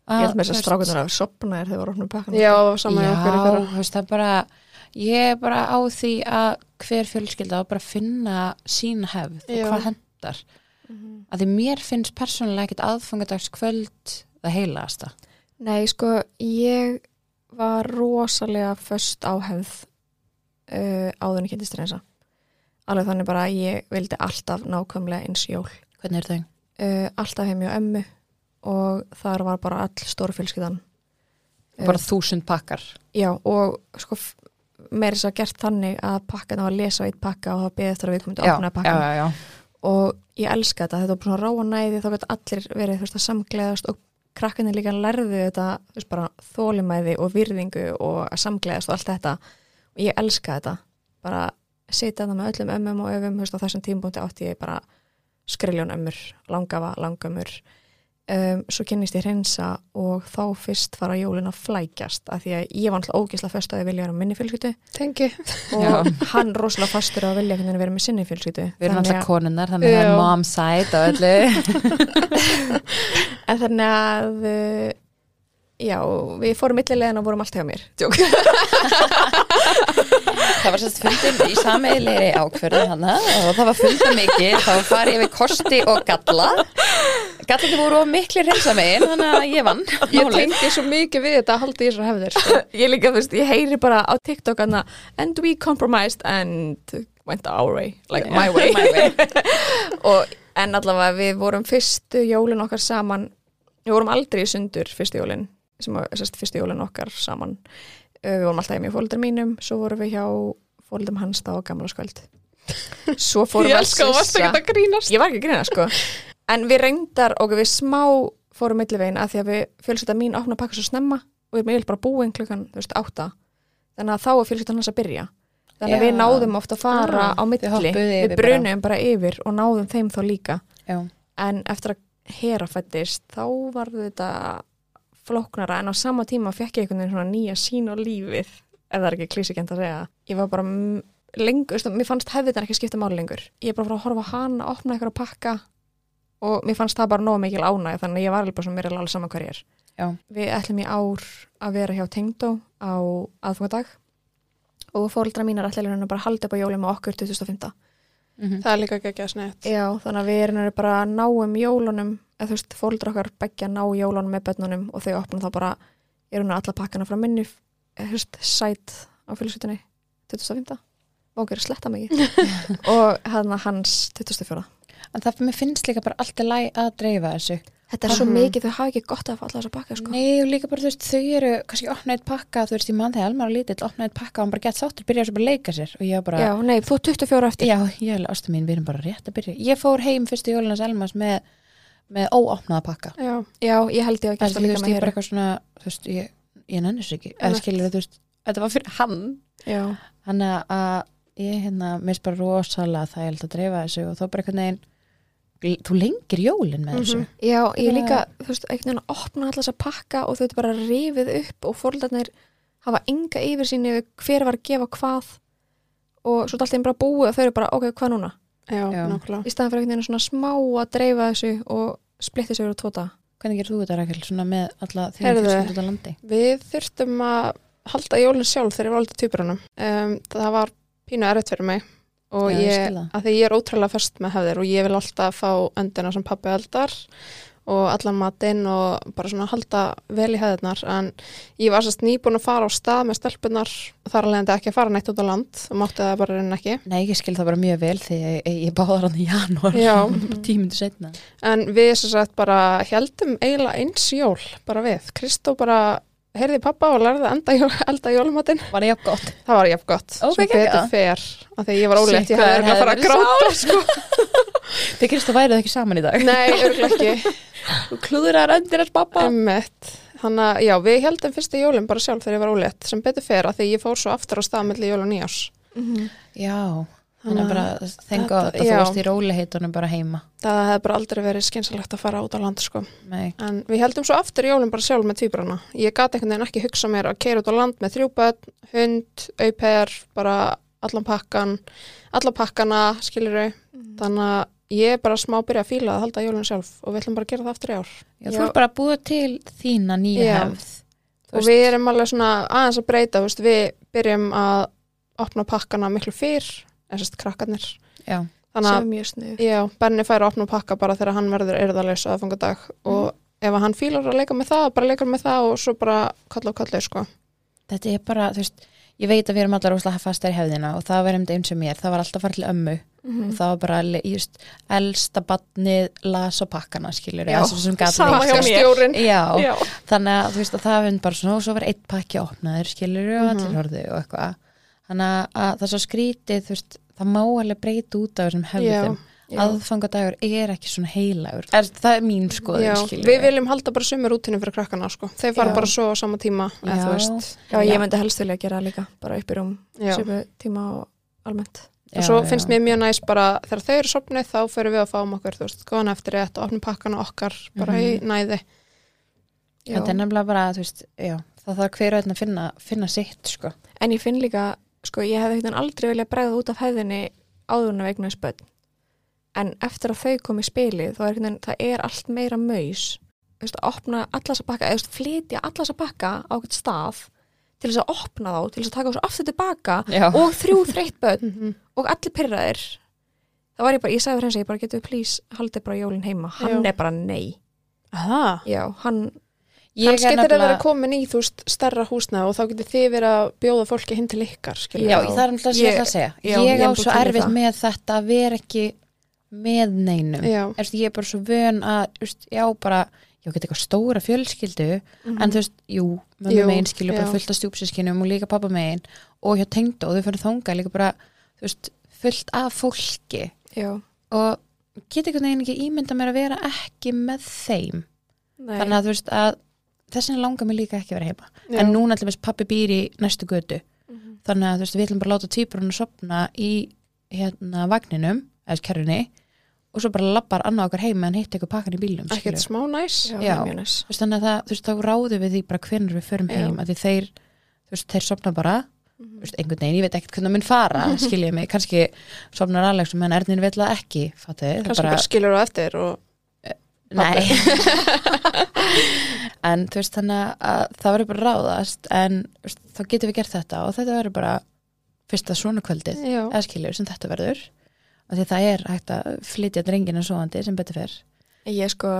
Ég held með þess að strákunar að sopna er þegar voru opnum pakkan. Já, það var saman hjá okkur í já, fyrra. þú veist, það bara ég er bara á því að hver fjölskylda á bara að finna sín hefð Já. og hvað hendar Mhm. að því mér finnst persónulega ekkit aðfangadagskvöld það heilaðasta Nei, sko, ég var rosalega föst á hefð uh, áður en ég kynntist reynsa. Alveg þannig bara að ég vildi alltaf nákvæmlega eins jól. hvernig er þau? Uh, alltaf heim hjá ömmu og þar var bara all stórfjölskyldan. Eh, bara þúsund pakkar Já, og sko, f- meira þess að segja gert þannig að pakkan á að lesa á eitt pakka og það beðið eftir að við komum til að opna pakkan. já, já. og ég elska þetta, þetta var bara svona ráa næði þá gæti allir verið þú veist að samgleðast og krakkanir líka lærðu þetta þú veist bara þólimæði og virðingu og að samgleðast og allt þetta og ég elska þetta, bara sita þetta með öllum ömmum og öfum, þú veist á þessum tímpúnti átti ég bara skriljón ömmur langafa, langamur um, svo kynnist ég hreinsa og þá fyrst fara jólin að flækjast af því að ég var alltaf ógislega föst að ég vilja vera með minni fjölskyldu Tengi. og Já. hann rosalega fastur á að vilja hvernig vera með sinni fjölskyldu Við erum Þannig að- alltaf konunnar, þannig að það er Já. mom side og öllu. En þannig að uh, já, við fórum millilegin og vorum allt hjá mér. Djók. það var sérst fundin í sameigilegri ákverðu hana og það var funda mikið, þá var ég við kosti og galla. Gallandi voru of miklu reynsamegin, þannig að ég vann. Ég tengi svo mikið við þetta að halda í þessar hefðir. sko. Ég líka, þú veist, ég heyri bara á TikTok hana, and we compromised and went our way, like my way. My way. og, en allavega við vorum fyrstu jólin okkar saman, við vorum aldrei í sundur fyrstu jólin, sem var sérst, fyrstu jólin okkar saman. Uh, Við vorum alltaf hjá mér fóldar mínum, svo vorum við hjá fóldum hans þá á gamla skvöld. Svo fórum Ég við að elska og varst sissa. ekki að grínast. ég var ekki að grina sko en við reyndar og við smá fórum millivegin að því að við fjölskylda mín opna að pakka svo snemma og við erum eiginlega bara búin klukkan þú veist, átta þannig að þá er fjölskyldan hans að byrja þannig að Já. við náðum oft að fara Ah, á milli þið hoppuðu við yfir brunum bara. yfir og náðum þeim þá líka Já. en eftir að hera fættist þá var þetta flóknara en á sama tíma fekk ég einhvern veginn svona nýja sín á lífið ef það er ekki klísikent að segja ég var bara m- lengur, veist, mér fannst hefðin ekki skipta máli lengur ég er bara frá að horfa á hana, opna eitthvað að pakka og mér fannst það bara nóg mikil ánæg þannig að ég var alveg bara svona mér er alveg saman hver ég er Já. við ætlum í ár að vera hjá Tengdó á aðfungadag og fóreldra mínar ætlaði hérna bara að halda upp á jólum á okkur 2005 Mhm. það er líka ekki að snett Já, þannig að við erum eru bara að náum jólunum eða þú veist, fóldra okkar begja ná jólunum með bönnunum og þau opna þá bara eru hún alla pakkana frá minni eða þú veist, sæt á fylgjusutinni 2005. Vókir sletta mig ekki. og hann hans 2004. En það mér finnst líka bara allt í læg að dreifa þessu. Þetta er svo Mhm. mikið, þau hafa ekki gott af alla þessa pakka sko. Nei, og líka bara þú veist, þau eru kannski opnaðið pakka, þú veist, ég mann þegar Elmar var lítill opnaðið pakka og hann bara gett sáttur, byrjaði svo bara að leika sér og ég var bara, Já, nei, þú er 24 eftir. já, ég er ástu mín, við erum bara rétt að byrja. Ég fór heim fyrstu jólunas Elmas með, með óopnaða pakka. já, Já, ég held ég að Það gert er það þú líka veist, með ég bara hér. eitthvað svona, þú veist, ég, ég nenni þessu ekki, eða Einmitt. skilur þú veist, þetta var fyrir hann. Já, Þannig að ég hérna, mér finnst bara rosalega það ég held að dreifa þessu og þá bara einhvern veginn, þú lengir jólin með þessu. Já, ég Bara- líka, þú veist, einhvern veginn að opna alltaf þessa pakka og þau eru bara rifið upp og fórhaldarnir hafa enga yfir sín yfir hver var að gefa hvað og svo er alltaf einn bara búið og þau eru bara, ok, hvað núna? já, Já. nákvæmlega Í staðan fyrir einhvern veginn svona smá að dreifa þessu og splitti sig úr tóta. Hvernig gerir þú þetta, Rakel, svona með alla þínu Heyrðu. fjölskyldu út á landi? við þurftum að halda jólun sjálf þegar ég var aldrei týpurunum um, það var pínu erfitt fyrir mig og Já, ég ég, skil það. að því ég er ótrúlega fest með hefðir og ég vil alltaf fá öndina sem pappi eldar og allan matinn og bara svona halda vel í hefðirnar en ég var sérst nýbúin að fara á stað með stelpunar þar alveg en ekki að fara neitt út á land og mátti það bara reyna ekki Nei, ég skil það bara mjög vel því ég, ég, ég báðar hann í janúar Já. tímundu setna. En við sem sagt bara heldum eiginlega eins jól bara við. Kristó bara heyrði í pappa og lærði að enda jól, elda jólumatinn. Var ég gott? Það var jafn gott. Ó, sem geggjað. betur fer. Af því ég var ólétt, Sitt, ég hvað hefði örugglega að fara að hefði verið gráta. Sko. Þið Kristó værið ekki saman í dag. Nei, örgulega ekki. Þú klúðurar öndir hans pappa. Emmett. Þannig að já, við heldum fyrstu jólum bara sjálf þegar ég var ólétt. Sem betur fer af því ég fór svo aftur á stað milli jól og nýjás. Já, þannig að bara Þetta- þengu að þú já. varst í róliheitunum bara heima. Það hefði bara aldrei verið skynsalegt að fara út á land sko. Nei, En við heldum svo aftur jólum bara sjálf með tvíbrana. Ég gat einhvern veginn ekki hugsa mér að keira út á land með þrjúböld, hund, auper, bara allan pakkan, alla pakkana, skilur þau. Þannig að ég er bara smá byrja að fíla að halda jólun sjálf og við ætlum bara að gera það aftur í ár. já, þú er bara að búa til þína nýja Já. hefð. Þú og veist- við erum alveg svona aðeins að breyta, þú veist, við byrjum að opna pakkana miklu fyrr, eða sérst krakkarnir. Já, Þannig að Sem mjög sniðu. Já, Benni fær að opna og pakka bara þegar hann verður erðalegs aðfangadag og ef hann fílar að leika með það, bara leikar með það og svo bara kalla og kalla, sko. þetta er bara, þú veist, ég veit að við erum allar óslega fastar í hefðina og það var einmitt eins og mér. Það var alltaf að fara til ömmu Mhm. og það var bara, le- just, elsta batnið las á pakkana, skilur. Já, sem gat sama neitt, hjá sko. stjórinn. Já, Já. þannig að þú veist að það hefði bara svona og svo var eitt pakki opnaður skilur og Mhm. allir horfðu og eitthvað þannig að- að það er svo skrítið þú veist það má alveg breyta út af þessum hefðum já. aðfangadagur er ekki svona heilagur er, það er mín skoðin Já, skilur við viljum halda bara sömu rútinu fyrir krakkana, sko. Þeir fara Já. bara svo á sama tíma, eða Já. þú veist. Já, ég myndi helst vilja gera það líka, bara upp í rúm, Já. sömu tíma og almennt. og svo finnst mér mjög næst bara þegar þau eru sopnið þá förum við að fáum okkur, þú veist, góðan eftir rétt og opnum pakkana okkar Mhm. bara í næði. Já. þetta er nefnilega bara þú veist já, það þarf hver og einn að finna, finna sitt sko. En ég finn líka, sko, ég hefði hérna aldrei viljað bregða út af hefðinni áðurna vegna spöld. En eftir að þau kom í spilið, þá er hérna, það er allt meira maus. Þú veist, að opna allas að bakka, eða þú veist, flytja allas að bakka á eitthvað stað til þess að opna þá, til þess að taka þessu aftur tilbaka Já. og þrjú þreytt börn Mhm. og allir pyrraðir. Það var ég bara, ég sagði fyrir hans, ég bara getur please haldið bara jólinn heima. Hann Já. er bara nei. Aha. Já, hann, ég Kannski er þeir eru að vera nefnilega komin í, þú veist, stærra húsnað og þá getur þið verið að bjóða fólki hinn til ykkar, skilur. Já, Já. það er alltaf að segja Ég- það að segja. já, Ég ég á er svo bara um til í erfitt það. með þetta að vera ekki með neinum. Já. Erst, ég er bara svo vön að, erst, já, bara, ég get eitthvað stóra fjölskyldu, en þú veist, jú, Mhm. Jú, mömmu megin skilur bara já. fullt af stjúpsískinum og líka pappa megin og hjá tengdu og þau fyrir þangað líka bara, þú veist, fullt af fólki já, og get eitthvað neginn ekki ímynda mér að vera ekki með þeim. nei. Þannig að þú veist að þessin langar mér líka ekki að vera heima. Já. Mhm. En núna allir veist pappi býr í næstu götu þannig að þú veist, við ætlum bara að láta týpurinn að sopna í hérna vagninum, eða kerrunni og svo bara labbar annað okkar heim meðan hitt eitthvað pakkan í bílnum Ekkert skilurðu. smá næs. já, já. já. mjög næs. Þú veist, þannig að það, þú veist, þá ráðum við því bara hvenær við förum Já. Mhm. heim, að því þeir þú veist, þeir sopna bara, þú veist, einhvern veginn ég veit ekkert hvernig það mun fara, skilja mig kannski sopnar Alex og menn Ernir vill það ekki fattu, það kannski bara, skilur á eftir og Nei En þú veist þannig að það verður bara að ráðast en þú veist, þá getum við gert þetta og þetta verður bara fyrsta svona kvöldið Já. eða skilur sem þetta verður af því það er hægt að flytja drengina svoandi sem betur fer Ég sko,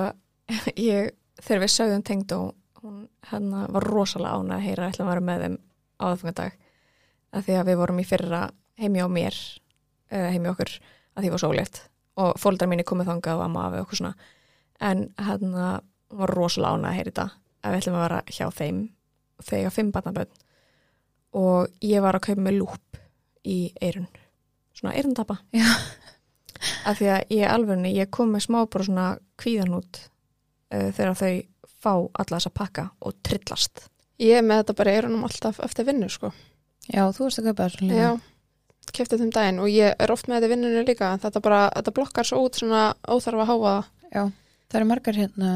ég, þegar við sögðum tengd og hún hérna var rosalega ána að heyra ætla að vera með þeim á aðfangadag að því að við vorum í fyrra heimi á mér, eh, heimi á okkur að því var sólétt og fóldar mínu komið þangað og amma af okkur svona en hérna hún var rosalega ána að heyra þetta að við ætlum að vera hjá þeim þegar fimm barnabönn og ég var að kaupa með lúp í eirun, svona eirundapa af því að ég alveg, ég kom með smá bara svona kvíðan út uh, þegar þau fá alla þessa pakka og trillast. Ég er með þetta bara í eyrunum alltaf eftir vinnu sko. Já, þú varst að kaupa þessu líka. Já, kefti þeim daginn og ég er oft með þetta í vinnunni líka en þetta bara, þetta blokkar svo út svona óþarfa háa Já, það eru margar hérna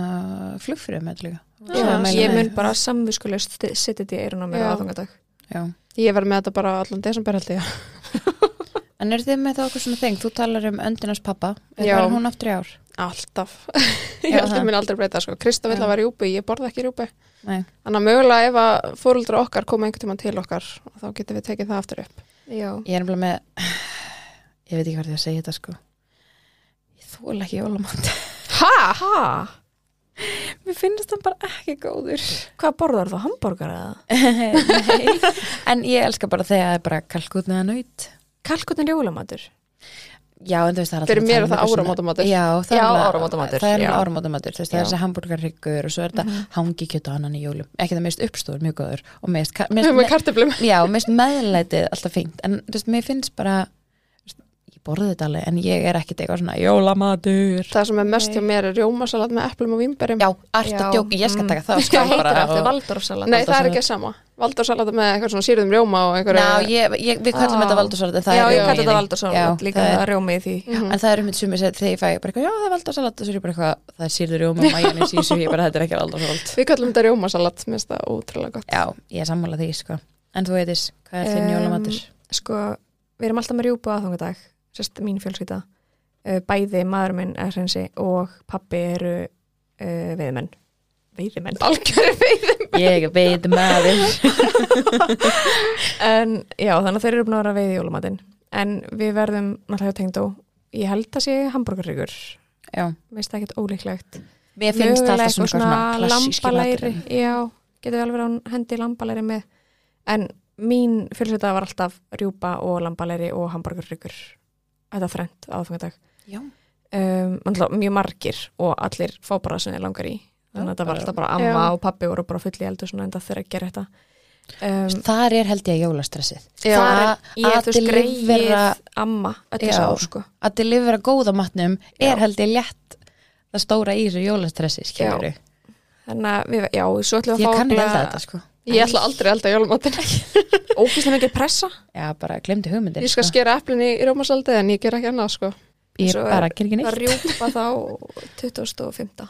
flugfrið með þetta líka. Já, Svo að Mælum ég með. mun bara samviskulegst setja þetta í eirun á mér Já. á aðfangadag. Já. Ég verð með þetta bara allan desember held ég En eru þið með það okkur svona þeng? Þú talar um öndinars pappa. Er Já. það hún aftur í ár? Alltaf Ég Já, held það. að minn aldrei breyta sko. Krista vill Já. að vera í rjúpi, ég borða ekki rjúpi Nei. Þannig að mögulega ef að fóruldra okkar koma einhvern tímann til okkar þá getum við tekið það aftur upp Já. Ég er nefnilega með, ég veit ekki hvað ég að segja þetta sko. Ég þóla ekki jólamat. Ha? Ha? Mér finnst það bara ekki góður. Hvað borðar þú? Hambúrgar eða? Nei. En ég elska bara þegar það er bara kalkutnaða nöyt. Kalkutin jólamatur? Já, en þú veist það er alltaf Fyrir að mér tala er um það eitthvað svona- áramótamatur. Já, það er Já, alveg- áramótamatur, Það er já. alveg áramótamatur, þú veist, það er Já. þessi hambúrgarryggur og svo er þetta mm hangikjöt og annan í jólum ekki það mest uppstúr, mjög góður og mest, ka- mest, Með kartöflum Já, mér finnst meðlætið alltaf fínt en þú veist, mér finnst bara þú veist, ég borði þetta alveg en ég er ekkit eitthvað svona jólamatur Það sem er mest hjá mér er rjómasalat með eplum og vínberjum Já, ert Já, að djók, ég skal mm. taka það sko, Hvað heitir það? Þetta er það? valdorfsalat. Nei, það er ekki sama Valdursalat með eitthvað svona sýrðum rjóma og einhverju Já, ég, ég, við kallum Ah. þetta valdarsalat en það Já, er ég rjómi kalli í þetta því. valdorfsalat. Já, Líka það það er- er rjómi í því. En það er um mitt sumi þegar ég fæ bara eitthvað, já það er valdarsalat og svo er ég bara eitthvað, það er sýrður rjóma, majónis í þessu, ég bara þetta er ekki valdarsalat Við kallum þetta rjómasalat, mér finnst það ótrúlega gott Já, ég er sammála því sko En þú veitis, hvað er þinn Em, jólamatur? sko, við erum alltaf með rjúpu aðfangadag, sérst mín fjölskylda Eh, bæði maður minn er hrensi og pappi eru uh, veiðmenn veiðmenn Algjöru veið Ég veit maður en já, þannig að þeir eru búin að vera að veiði jólumatinn en við verðum náttúrulega hjá tengdó ég held að sé hambúrgarryggur Já, veist það ekkert ólíklegt mér finnst það Mögulega alltaf svona, eitthvað svona klassíski lambalæri maturinn já, getur alveg að hún hendi lambalæri með en mín fjölskylda var alltaf rjúpa og lambalæri og hambúrgarryggur þetta þrennt á aðfangadag Já, um, náttúrulega mjög margir og allir fá bara það sem þeir langar í þannig að þetta var bara- alltaf bara amma Já. og pappi voru bara fulli eldur svona enda þeirra að gera þetta um, Þar er held ég jólastressið já, það ég að er þú skreið delivera- amma öll Já. þess að sko Að delivera góða matnum er Já. held ég létt það stóra í þessu jólastressi skilur Ég þannig að við, já, svo ætlum við að fá kann ekki elda þetta sko Ég ætla aldrei að elda jólumatinn ógæslega mikið pressa Já, bara glemdi hugmyndin Ég skal sko. skera eplin í rjómasalatið en ég ger ekki annað sko Ég svo er- bara ger ekki það neitt rjúpa þá 2005 Já,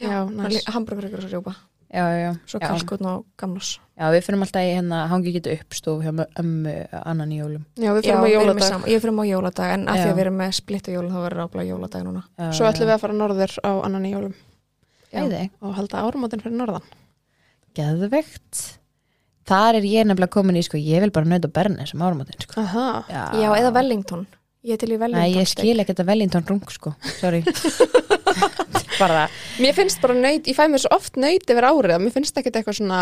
Já, næs. hambúrgarryggur og rjúpa Já, já, já. svo Já. kalkutn og gamnus Já, við fyrir alltaf í hérna hangi getur uppstof hjá mö- ömmu annan í jólum Já, við Já, fyrir við með erum í jóladag sama- ég fyrir á jóladag en af Já. því að við erum með splittu jólun þá verður áblæð jóladag núna Já, Svo já. ætlum við að fara norður á annan í jólum Já. Æði. og halda áramótin fyrir norðan geðvegt þar er ég nefnilega komin í sko, ég vil bara nöða berni sem áramótin sko. Aha. já, um eða Wellington, ég er til í Wellington Nei, ég steik. skil ekki þetta Wellington rung sko, sorry bara, Mér finnst bara nöyt, ég fæ mér svo oft nöyt yfir árið að mér finnst ekkert eitthvað svona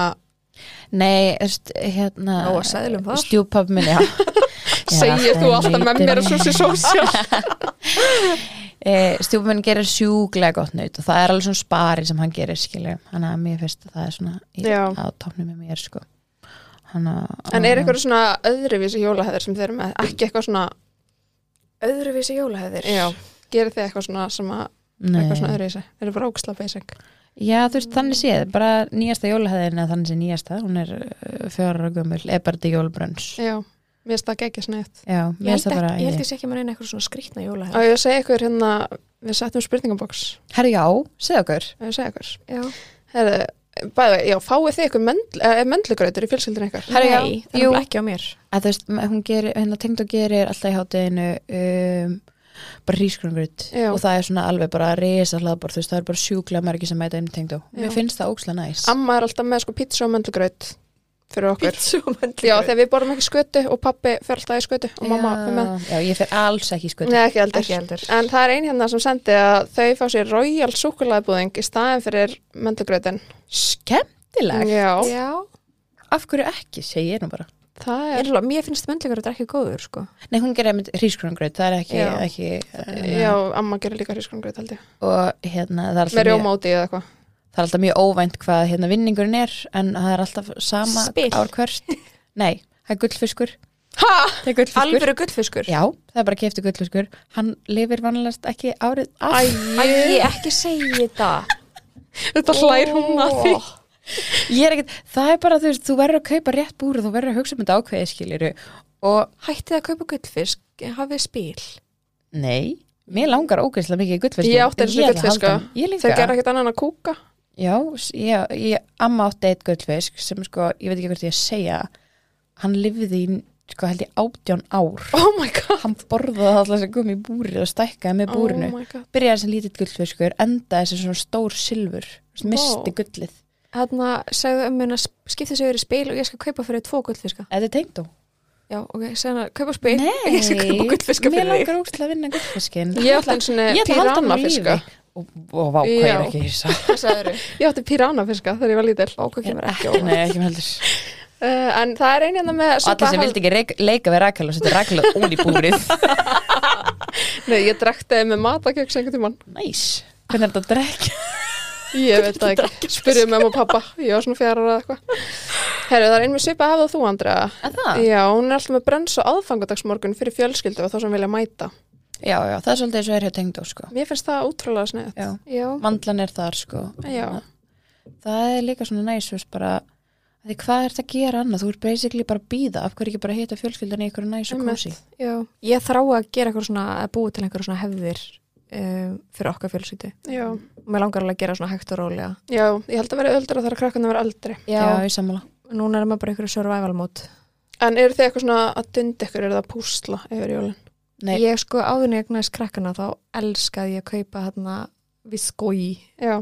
nei, erst, hérna Nóg að seðlum þar. stjúpab minn, já segir þú alltaf með mér og svo sér sósjál stjúpab minn E, gerir sjúklega gott nöyt og það er alveg svona spari sem hann gerir skilja, hann að mér finnst að það er svona í, Já. á topnum með mér sko hann að En er eitthvað svona öðruvísi jólaheðir sem þeir eru með ekki eitthvað svona, öðruvísi jólahefðir já, gerir þið eitthvað svona sem að, Nei. eitthvað svona öðruvísi Þeir eru bara óksla basic Já, þú veist, þannig séð, bara nýjasta jólahæðin eða þannig séð nýjasta, hún er fjara og gömul, er bara til jólabrönns Já, mér finnst það geggjast neitt Já, mér Ég finnst held, það ekki, bara ég held ég sé ekki með neina eitthvað svona skrýtna Og jólahefð ég að segja ykkur hérna, við settum spurningaboks Herru, já, segðu okkur Ef ég að segja ykkur Já. Herðu, bæði, já, fáið þið ykkur mendl, eh, mendlugrautur í fjölskyldinu ykkur Herru, já, Nei, það er jú. nefnilega ekki á mér að Þú veist, m- hún gerir, hérna tengd og gerir alltaf í hátteginu um, bara hrísgrungrut Já. og það er svona alveg bara risa hlaðbor þú veist, það er bara sjúklega margir sem mæta inn tengd og mér Já. finnst það ókslega næs Amma er alltaf með sko pizza og mendlugraut fyrir okkur Pítsumann Já, þegar við borum ekki skötu og pappi fer alltaf í skötu og mamma já, fer með já, ég fer alls ekki sko Nei, ekki heldur. Ekki heldur. En það er ein hérna sem sendi að þau fá sér royal súkulaðbúðing í staðin fyrir mendugröðin. skemmtilegt, Já, Já, af hverju ekki segi ég nú bara, það ég, er, alveg- mér finnst möndlegur að þetta ekki góður sko. nei hún gerir einmitt hrísgrungröð, það er ekki, Já. ekki eh, já, amma gerir líka hrísgrungröð held ég. og hérna það er Með alltaf mjög, rjómáti eða eitthvað. það er alltaf mjög óvænt hvað hérna vinningurinn er, en það er alltaf sama Spil. ár hvert, nei það er gullfiskur, Ha, það er gullfiskur alveg gullfiskur Já, það er bara keftu gullfiskur Hann lifir vannlegast ekki árið af. Æ, ekki segja þetta Þetta hlær hún að því. Ég er ekkert, það er bara, þú veist, þú verður að kaupa rétt búr og þú verður að hugsa um þetta ákveðið skiliru og Hættið að kaupa gullfisk, hafið spil nei, mér langar ógeðslega mikið í gullfisk Ég átti einu sinni gullfisk, Ég Þau líka, gerir ekkert annan að kúka. já, s- ég, ég amma átti eitt gullfisk sem sko, ég veit ekki hvort ég að segja hann lifði í, sko, held ég átján ár Oh my god. Hann borðaði alltaf sem kom í búrið og stækkaði með búrinu Oh my god. Byrjaði sem lítill gullfiskur, endaði sem svona stór silfur, þú veist, misti gullið Þarna segðu um minna skipta sig yfir í spil og ég skal kaupa fyrir tvo gullfiska Þetta er tengdó Já, ok, segðu hana, kaupa spil Nei, Ég skal kaupa gullfiska mér fyrir þig langar ógstilega að vinna gullfiskin Ég átti einu Ég sinni ætla að halda hann á lífi píranafiska. og, og vá, hvað ég er Já. ekki hissa Hvað segðu þau? Ég átti píranafiska þegar ég var lítil. Bóku Ég er kemur ekki ekki- Nei, ekki með heldur Uh, en það er ein hérna með... Og allir sem vildi ekki reik, leika við Rakel og setja Rakel ón í búrið Nei, ég drekti með matakjöks einhvern tímann. Næs, hvernig er þetta að drekja? Ég veit það ekki, spyrjum mamma og pappa Ég var svona fjara ára eða eitthvað Herru, það er einmið svipa hafið og þú, Andrea Að það? Já, hún er alltaf með brenns og aðfangadagsmorgun fyrir fjölskyldu og þá sem vilja mæta Já, já, það er svolítið eins og er hjá tengdó sko Mér finnst það útrúlega sniðt Já, Já, mandlan er þar sko Já. Það er líka svona næs, þú veist bara af Því hvað er þetta að gera annað? Þú ert basically bara að býða af hverju ekki bara hitta fjölskyldan í ykkur næs og Einmitt. kósi já Ég þrá að gera eitthvað svona, að búa til einhverju svona hefðir um, fyrir okkar fjölskyldu Já, og mér langar alveg að gera svona hægt og rólega já, ég held að vera öldra þegar krakkan að vera eldri Já, ég sammála Núna er maður bara einhverju survival mode En eru þið eitthvað svona að dundi ykkur, eru það að púsla yfir jólin? Nei. Ég sko áðurinn ég gnaðis krakkana þá elskaði ég að kaupa hérna viskói Já,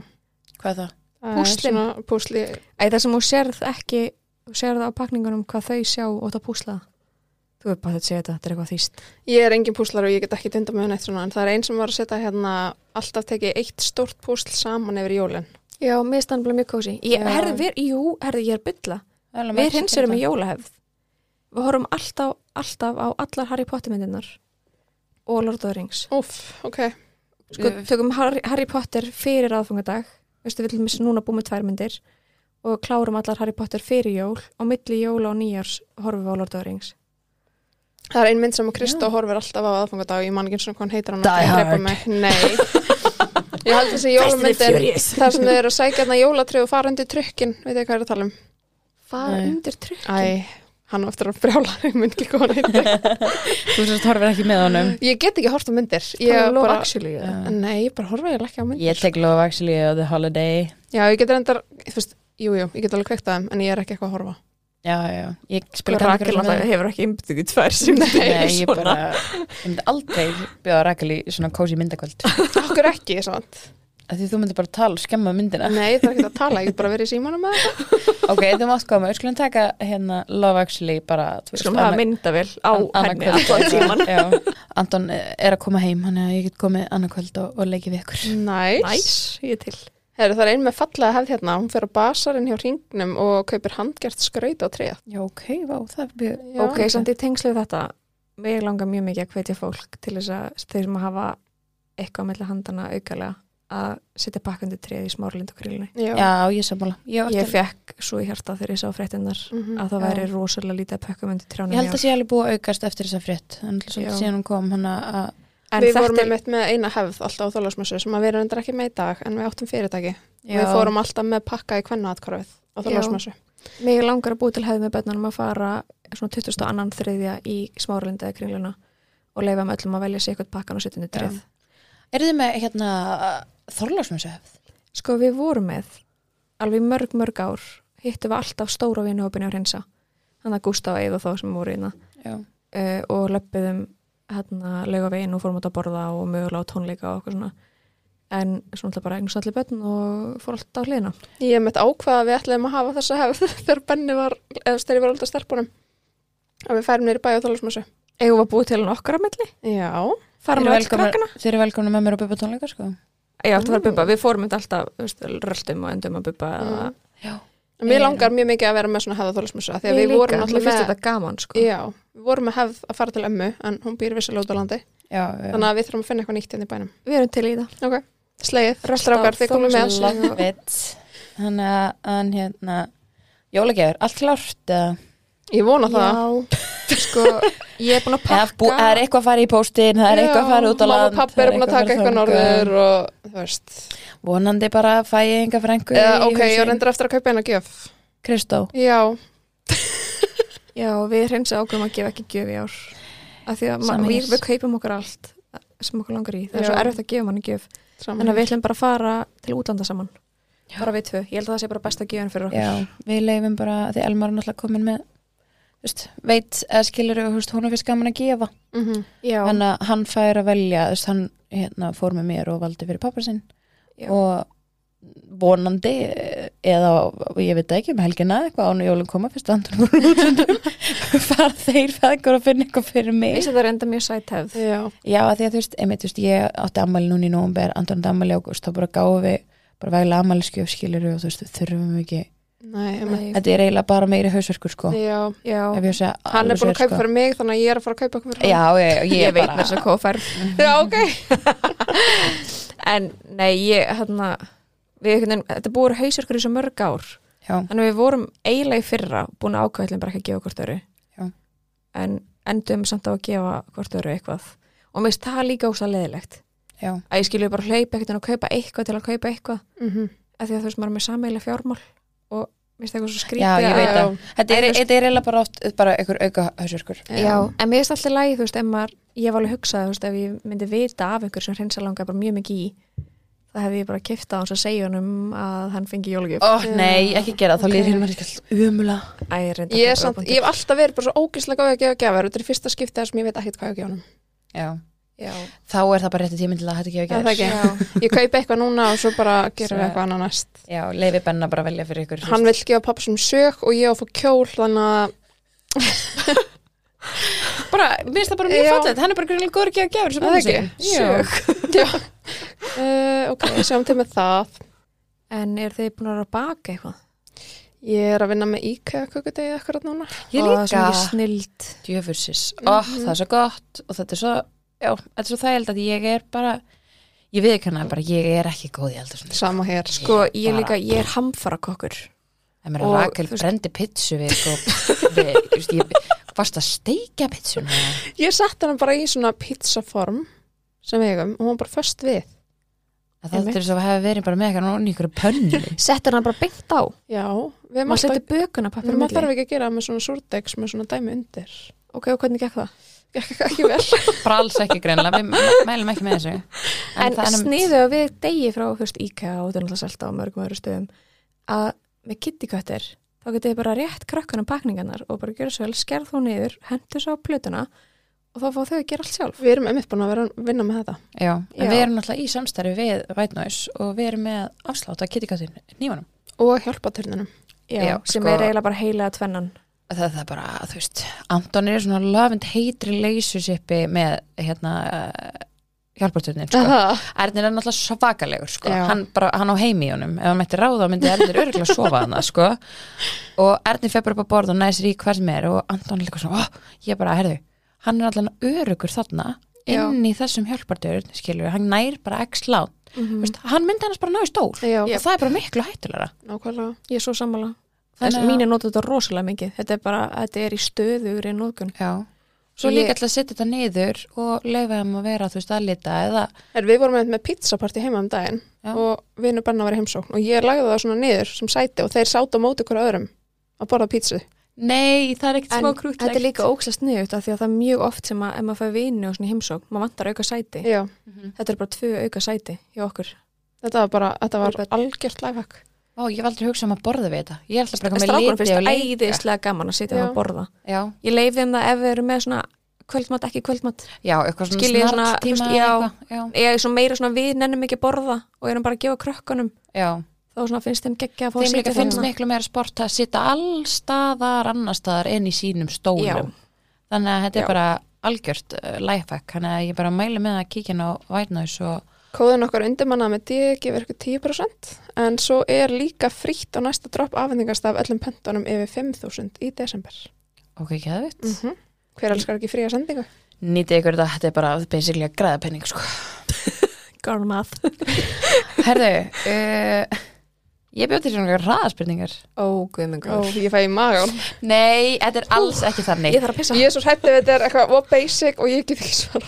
Hvað er það? það er Púslin. svona Púsli, Æ, það sem þú sérð ekki, þú sérð á pakningunum hvað þau sjá og það púsla. Þú er bara að segja þetta, þetta er eitthvað þýst. ég er engin púslar og ég get ekki dunda með neitt svona En það er einn sem var að setja hérna alltaf tekið eitt stórt púsl saman yfir jólin Já, mér stann bara mjög kósi. Ég, Já. herði, við, jú, herði, ég er að bylla. Það er alveg Við margt sem hinsurum í gerir jólahefð. Við horfum alltaf, alltaf á allar Harry Potter myndirnar og Lord of the Rings. Úff, ok, Sko, Við- tökum Harry, Harry Potter fyrir aðfangadag. Veistu, við viljum þessi núna búið með tvær myndir og klárum allar Harry Potter fyrir jól og milli jóla og nýjars horfum við á Lord of the Rings. Það er ein mynd sem að Kristó horfir alltaf á aðfangadag ég man ekki eins og hvað hann heitir hann Die ætlaði að drepa Hard. mig. Nei Ég held þessi jólamyndir þar sem þau eru að sækja hann að jólatrið og fara undir trukkin veit ég hvað ég er að tala um Fara Nei. undir trukkin. Æ, hann á eftir að brjála ég mynd ekki hvað hann heitir Þú sérst horfir ekki með honum Ég get ekki hort á myndir Ég ég bara, actually, eða? Nei, ég bara horfa ég ekki á myndir Ég tek Love Actually og The Holiday Já, ég get reyndar, þú veist, jú, jú, ég get alveg kveikt að þeim en ég er ekki eitthvað að horfa Já, já, ég spila Candy Rakel Crush náttúrulega með- hefur ekki einbyttingu tvær sem Nei, ég bara, ég myndi aldrei bjóða Rakel í svona kósi myndakvöld Okkur ekki, ég samt af því þú myndi bara tala og skemma myndina Nei, það er ekki að tala, ég get bara verið í símanum með þetta Ok, þú mátt koma, við skulum taka hérna Love Actually bara þú veist, Skulum hafa annað- myndavel á an- annað kvöld henni allan eitthvað, tíman já. Anton eh, er að koma heim hann er að ég get komið annarkvöld og, og leikið við ykkur Næs Næs, ég er til Heru, það er ein með fallega hefð hérna, hún fer á basarinn hjá ringnum og kaupir handgjart skraut á treð. Já, ok, vá, það er mjög Já. Ok, samt í tengslu við þetta Mér langar mjög mikið að hvetja fólk til þess að þeir sem hafa eitthvað á milli handana aukalega að setja bakkundi treð í smárlind og grillinu Já, ég sammála Ég, Ég ég, fekk svo í hjarta þegar ég sá fréttinnar Mhm. að það Mm, Já. væri rosalega lítið að pökkum undir trjánum ég held að sé alveg búið að aukast eftir þessa frétt en svolítið Já. síðan hún kom hann að að- En við vorum þetta er, einmitt með eina hefð alltaf á þólasmessu sem að við erum endur ekki með í dag en við áttum fyrirtæki. Já. Við fórum alltaf með pakka í kvennaatkvarfið á þólasmessu. mér langar að búi til hefði með börnunum að fara svona 22. þriðja í smárlind eða grillina og leifa með öllum að velja sér eitthvað pakkan og setja undir treð Eru þið með hérna Þorlásmjössöf? Sko við vorum með alveg í mörg mörg ár hittum við alltaf stóra vinahópinu á hreinsa hann að Gustaf Eða þá sem voru hérna. ína Já uh, og löppiðum hérna laugaveginn og fórum út að borða og mögulega á tónleika og okkur svona en svo náttúrulega bara eignast allir börn og fór allt á hliðina Ég mitt ákvaða að við ætlaðum að hafa þessa hefð þegar Benni var, eða þess þegar ég var alltaf stelpunum að við færum neyri bæ á þálasmessu eigum við að búið til hann okkar að milli Já, Þeir fara eru með öll velkomin- krakkana þeir eru velkomna með mér á bubba tónleika sko já, þetta var bubba, við fórum þetta alltaf þú veist, röltum og endum að bubba Mm. mm. en mér langar mjög mikið að vera með svona hefð á þálasmessu því að Mér við vorum mér alltaf finnst með þetta gaman sko. Já, við vorum með hefð að fara til ömmu en hún býr vissilega út á landi Já, þannig að við þurfum að finna eitthvað nýtt inn í bænum við erum til í það Ok, slegið, strákar, þið komum með love it Þannig að, en hérna Jólagjafur, allt klárt eða Ég vona það já, sko, ég er búin að Eða bú- pakka Það er eitthvað að fara í póstinn, það er eitthvað að fara út á land Má pappi það er búin að taka eitthvað fara þangað. norður og þú veist Vonandi bara fæ ég enga frængu Eða, Ok, ég reyndir eftir að kaupa eina gjöf Kristó Já, já, við hreinsið ákveðum að gefa ekki gjöf í ár af því að ma- Sama við, hér. við kaupum okkur allt sem okkur langar í, það er Já. svo erfitt að gefa manni gjöf saman þannig að við ætlum bara að fara til útlanda saman bara við tvö, ég held að það sé bara besta gjöfin fyrir okkur Já, við leifum bara, því Elmar er náttúrulega komin með þú veist, veit eða skilur hún er fyrst gaman að gefa Mhm. Já. þannig að hann fær að velja þú veist, hann hérna, fór með mér og valdi fyrir pappa sinn Já. og vonandi eh, eða ég veit ekki um helgina eitthvað án og jólum koma fyrst andur úr útlöndum fara þeir feðgur að finna eitthvað fyrir mig Vissi það er enda mjög sæt hefð. Já, Já, af því að þú veist, einmitt, þú veist, ég átti ammæli núna í nómber, Anton átti ammæli í ágúst, þá bara gáðum við bara veglega ammæliskjöf skilur og þú veist, við þurfum ekki nei, emmi Nei. Þetta er eiginlega bara meiri hausverkur, sko Já, Já, Ef ég á að sko. segja hann er alveg búin að sér, kaupa fyrir mig þannig að ég er að fara að kaupa eitthvað fyrir Já, ég, ég, ég veit bara mér þess að hvað færð. Já, ok En nei, ég, hérna, við einhvern veginn, þetta er búið að vera hausverkur í svo mörg ár. Já, Þannig að við vorum eiginlega í fyrra búin að ákvæðlega bara ekki að gefa hvort öru. Já. En endum samt á að gefa hvort öru eitthvað. Og mér finnst það líka ósað leðilegt. já, Að ég skilju bara hlaupa eitthvað og kaupa eitthvað til að kaupa eitthvað. Mhm. Af því að þú veist, maður er með sameiginlega fjármál og mér finnst það eitthvað svo já, skrítið. ég að- veit Já. það Þetta er En þú veist- þetta er eiginlega bara oft bara einhver auka hausverkur Já, en mér finnst alltaf lægi, þú veist, ef maður, ég var alveg hugsað, þú veist, ef ég myndi vita af einhver sem hreinsa langar bara mjög mikið í, þá hefði ég bara kiftað hans að segja honum að hann fengi jólugjöf. Ó, nei, ekki gera það, þá líður hérna ekki umula Æ, ég reynda Ég, er samt, ég hef alltaf verið bara svo ógislega góð að gefa gefur Þetta er í fyrsta skiptið þar sem ég veit ekkert hvað ég á að gefa honum Já, Já, þá er það bara rétti tíminn til að hætta ekki að Er það gera ekki? já, Ég kaupi eitthvað núna og svo bara gerum við Svo- eitthvað annað næst Já, leifi Benna bara að velja fyrir ykkur Hann vill gefa pappa sem sög og ég á að fá kjól þannig að bara, minnst það bara Já. hann er bara grunlega góður ekki að gefa Er það ekki? Sjög Já uh, Ok, sjáum til með það en er þið búin að vera að baka eitthvað? Ég er að vinna með IKEA kökudegi akkurat núna Ég Ó, það er svo líka. mikið snild. djöfursis, mm það er svo gott og þetta er svo, já, þetta er svo þægild að ég er bara, ég viðkanna bara, ég er ekki góð í eldur svona Sama hér Sko, ég Bara- líka, ég er hamfara kokkur. það meira Og, Rakel þú veist- brendi pitsu við, sko, við, þú veist, ég varst að steikja pitsu Ég sett hana bara í svona pizzaform sem við eigum og hún bara föst við það er svo að hafa verið bara með eitthvað og einhverju pönnu Settir hann bara beint á. Já, við erum Maður alltaf setur bökuna Við pappir erum alltaf ekki að gera það með svona súrdegs með svona dæmi undir Ok, og hvernig gekk það? Gekk ekki vel bara alls ekki greinlega, við mælum ekki með þessu en, það er- sniðu að við degi frá fyrst IKEA og þetta er náttúrulega selta á mörgum öðru stöðum að með kittiköttir þá getið þið bara rétt krakkanum pakningarnar og bara gera svo vel, skerð þú niður, hendur svo á plötuna og þá fá þau að gera allt sjálf Við erum einmitt búin að vera að vinna með þetta já, en Já. við erum náttúrulega í samstarfi við White Noise og við erum með afslátt að kittikattin nýmanum og hjálpa törnunum Já, Já, sem sko- er eiginlega bara heila tvennan það, það er bara, þú veist, Anton er í svona lafend heitri leysusipi með hérna uh, hjálparturnin, sko. Ernir er náttúrulega svakalegur, sko. Já. Hann bara, hann á heimi í honum. Ef hann mætti ráða, myndi Ernir örgulega sofa hann, sko. Og Ernir fer bara upp á borð og næsir í hvern sem er og Anton er líka svona, ó, ég bara, herðu, hann er allavega örugur þarna Já. inn í þessum hjálparturn, skilur, hann nær bara x lán. Mhm. Mm. Veist, hann myndi annars bara ná í stól. Já, Og það er bara miklu hættulega. nákvæmlega Ég er svo sammála Þannig að- Mín er notað þetta rosalega mikið Þetta er bara, þetta er í stöðugri nótgun Já. Svo Ég- líka alltaf að setja þetta niður og leifa þeim að vera, þú veist, að lita eða er, Við vorum einmitt með pizzapartí heima um daginn Já. og vinur bennar var í heimsókn og ég lagði það svona niður sem sæti og þeir sátu á móti hverju öðrum að borða pítsu Nei, það er ekkert En smá krútlegt þetta er líka ókslega sniðut af því að það er mjög oft sem að ef maður fær vini og svona í heimsókn, maður vantar auka sæti Já, Þetta er bara tvö auka sæti hjá okkur þetta var bara, þetta var algjört lifehack Ó, ég var aldrei að hugsa um að borða við þetta Ég er alltaf bara En með strákunum liti og finnst það leika æðislega gaman að Já. sitja það að borða Já, ég leif þeim það ef við erum með svona kvöldmatt, ekki kvöldmatt já, eitthvað svona Skiljið svona, snart tíma þú veist, já. já, ég er svona meira svona við nennum ekki að borða og erum bara að gefa krökkunum já. þá svona finnst þeim geggja að fá að þeim líka sitja finnst þarna. miklu meira sport að sitja allstaðar annarstaðar en í sínum stólum þannig að þetta er Já. bara algjört uh, lifehack, þannig að ég bara mæli með að kíkja inn á White Noise og Kóðun okkar undirmanna með D gefur ykkur 10% en svo er líka frítt á næsta dropp afhendingast af öllum pöntunum yfir 5.000 í desember. ok, ekki að vitt Hver elskar ekki fría sendingu? nýtið ykkur þetta, þetta er bara basically að græða penning sko. Garn math. herðu uh, ég bjóti til einhverja hraðaspurningar Ó, guð minn Ó, góður. ég fæ í magan. nei, þetta er alls ekki þannig ég þarf að pissa Ég er svo hrættið þetta er eitthvað of basic og ég get ekki svara.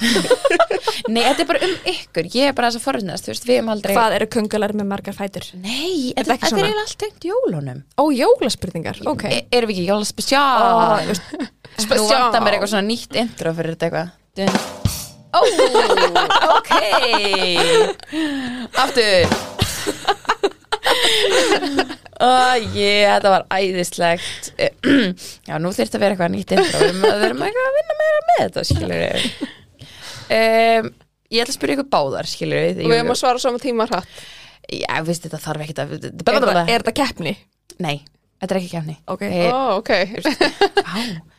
nei, þetta er bara um ykkur, ég er bara þess að forðnast þú veist, við erum aldrei hvað eru kungular með margar fætur nei, þetta, Þetta er ekki þetta er svona. eiginlega allt tengt jólunum ó, jólaspurningar, ok e erum við ekki jóla spesial Nú Special. vantar mér eitthvað svona nýtt intro fyrir þetta eitthvað Dun. Ó, ok Aftur Ó, ég, þetta var æðislegt Já, nú þyrfti að vera eitthvað nýtt intro Við erum- við erum eitthvað að vinna meira með þetta, skilur um, Ég ætla að spyrja ykkur báðar, skilur við Og við erum að svara saman tíma hratt. Já, veist, þetta þarf ekkert að er þetta, er þetta keppni? Nei, þetta er ekki kefni Ok. Ó, Eh, ok. Vá.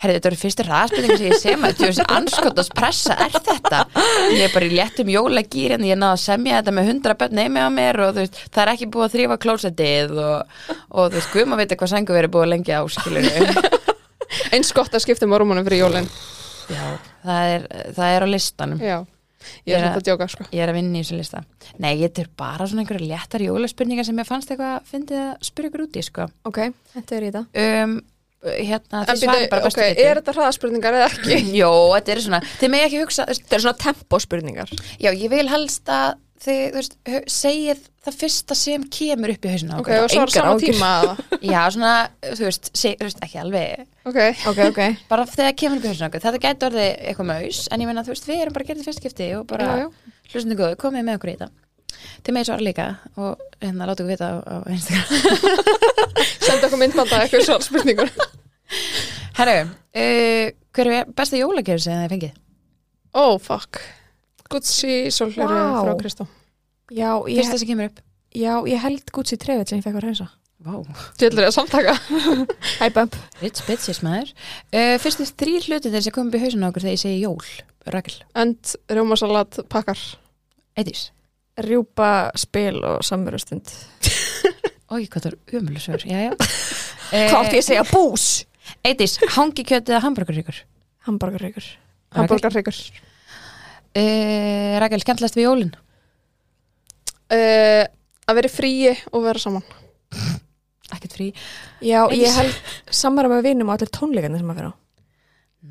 Herri, þetta eru fyrstu ræðspurningar sem ég sem að þú veist anskotast pressa er þetta ég er bara í léttum jólagýr en ég náði að semja þetta með hundra börn neymi á mér og þú veist, það er ekki búið að þrýfa klósetið og, og þú veist, guðma veit hvað sengu verið búið lengi á, skilur Eins gott að skiptum ormunum fyrir jólinn. Já, það er, það er á listanum Já, ég Ég- er svolítið að djóka, sko. Ég er að vinna í þessu lista Nei, ég þetta er bara svona einhverja léttar jólaspurningar sem ég fannst eitthvað að fyndið að spyrja ykkur út í, sko ok, þetta er í það um, Hérna, En þið svarið býttu, bara ok, bestu er þetta hraðaspurningar eða ekki? Jó, þetta er svona, þið með ekki hugsa, þú veist, þetta er svona tempospurningar Já, ég vil helst að þið, þú veist, hu- segið það fyrsta sem kemur upp í hausinu Ok, og svara engar saman áhyggjur. tíma að það. Já, svona, þú veist, seg, þú veist, ekki alveg Ok, ok, ok, bara þegar það kemur upp í hausinu okkur, þetta gæti orðið eitthvað maus, en ég meina, þú veist, við erum bara að gera þetta fyrstskipti og bara, Já, já. hlustinu góðu, komið með okkur í þetta Þið megið svara líka og hérna, láta okkur vita á, á Instagram senda okkur myndbanda eitthvað svona spurningur. Herru, uh, hver er besta jólagjörn sem þið fengið? Ó, fuck. Gucci, svolítið Vá. frá Kristó. já, ég, Fyrsta sem kemur upp já, ég held Gucci trefið sem ég fekk að reynsa Vá, Djöldrið að samtaka. high bump rich bitches maður uh, Fyrstu þrýr hlutinir sem komum upp í hausinu okkur þegar ég segi jól, Rakel, And rjómasalat pakkar. Eidís rjúpa, spil og samverustund Ói, hvað það er umlusur, já, Eh, já. hvað átti Eh, ég að segja? Bús! Eitís, hangi kjötið að hamburgaríkur. Hamburgerryggur Hamburgar hreikur. Uh, Rakel, skemmtlast við jólinn. Uh, að vera í fríi og vera saman. Ekkert frí. já, Eins. ég held samverða með vinum og allir tónleikarnir sem að fyrir á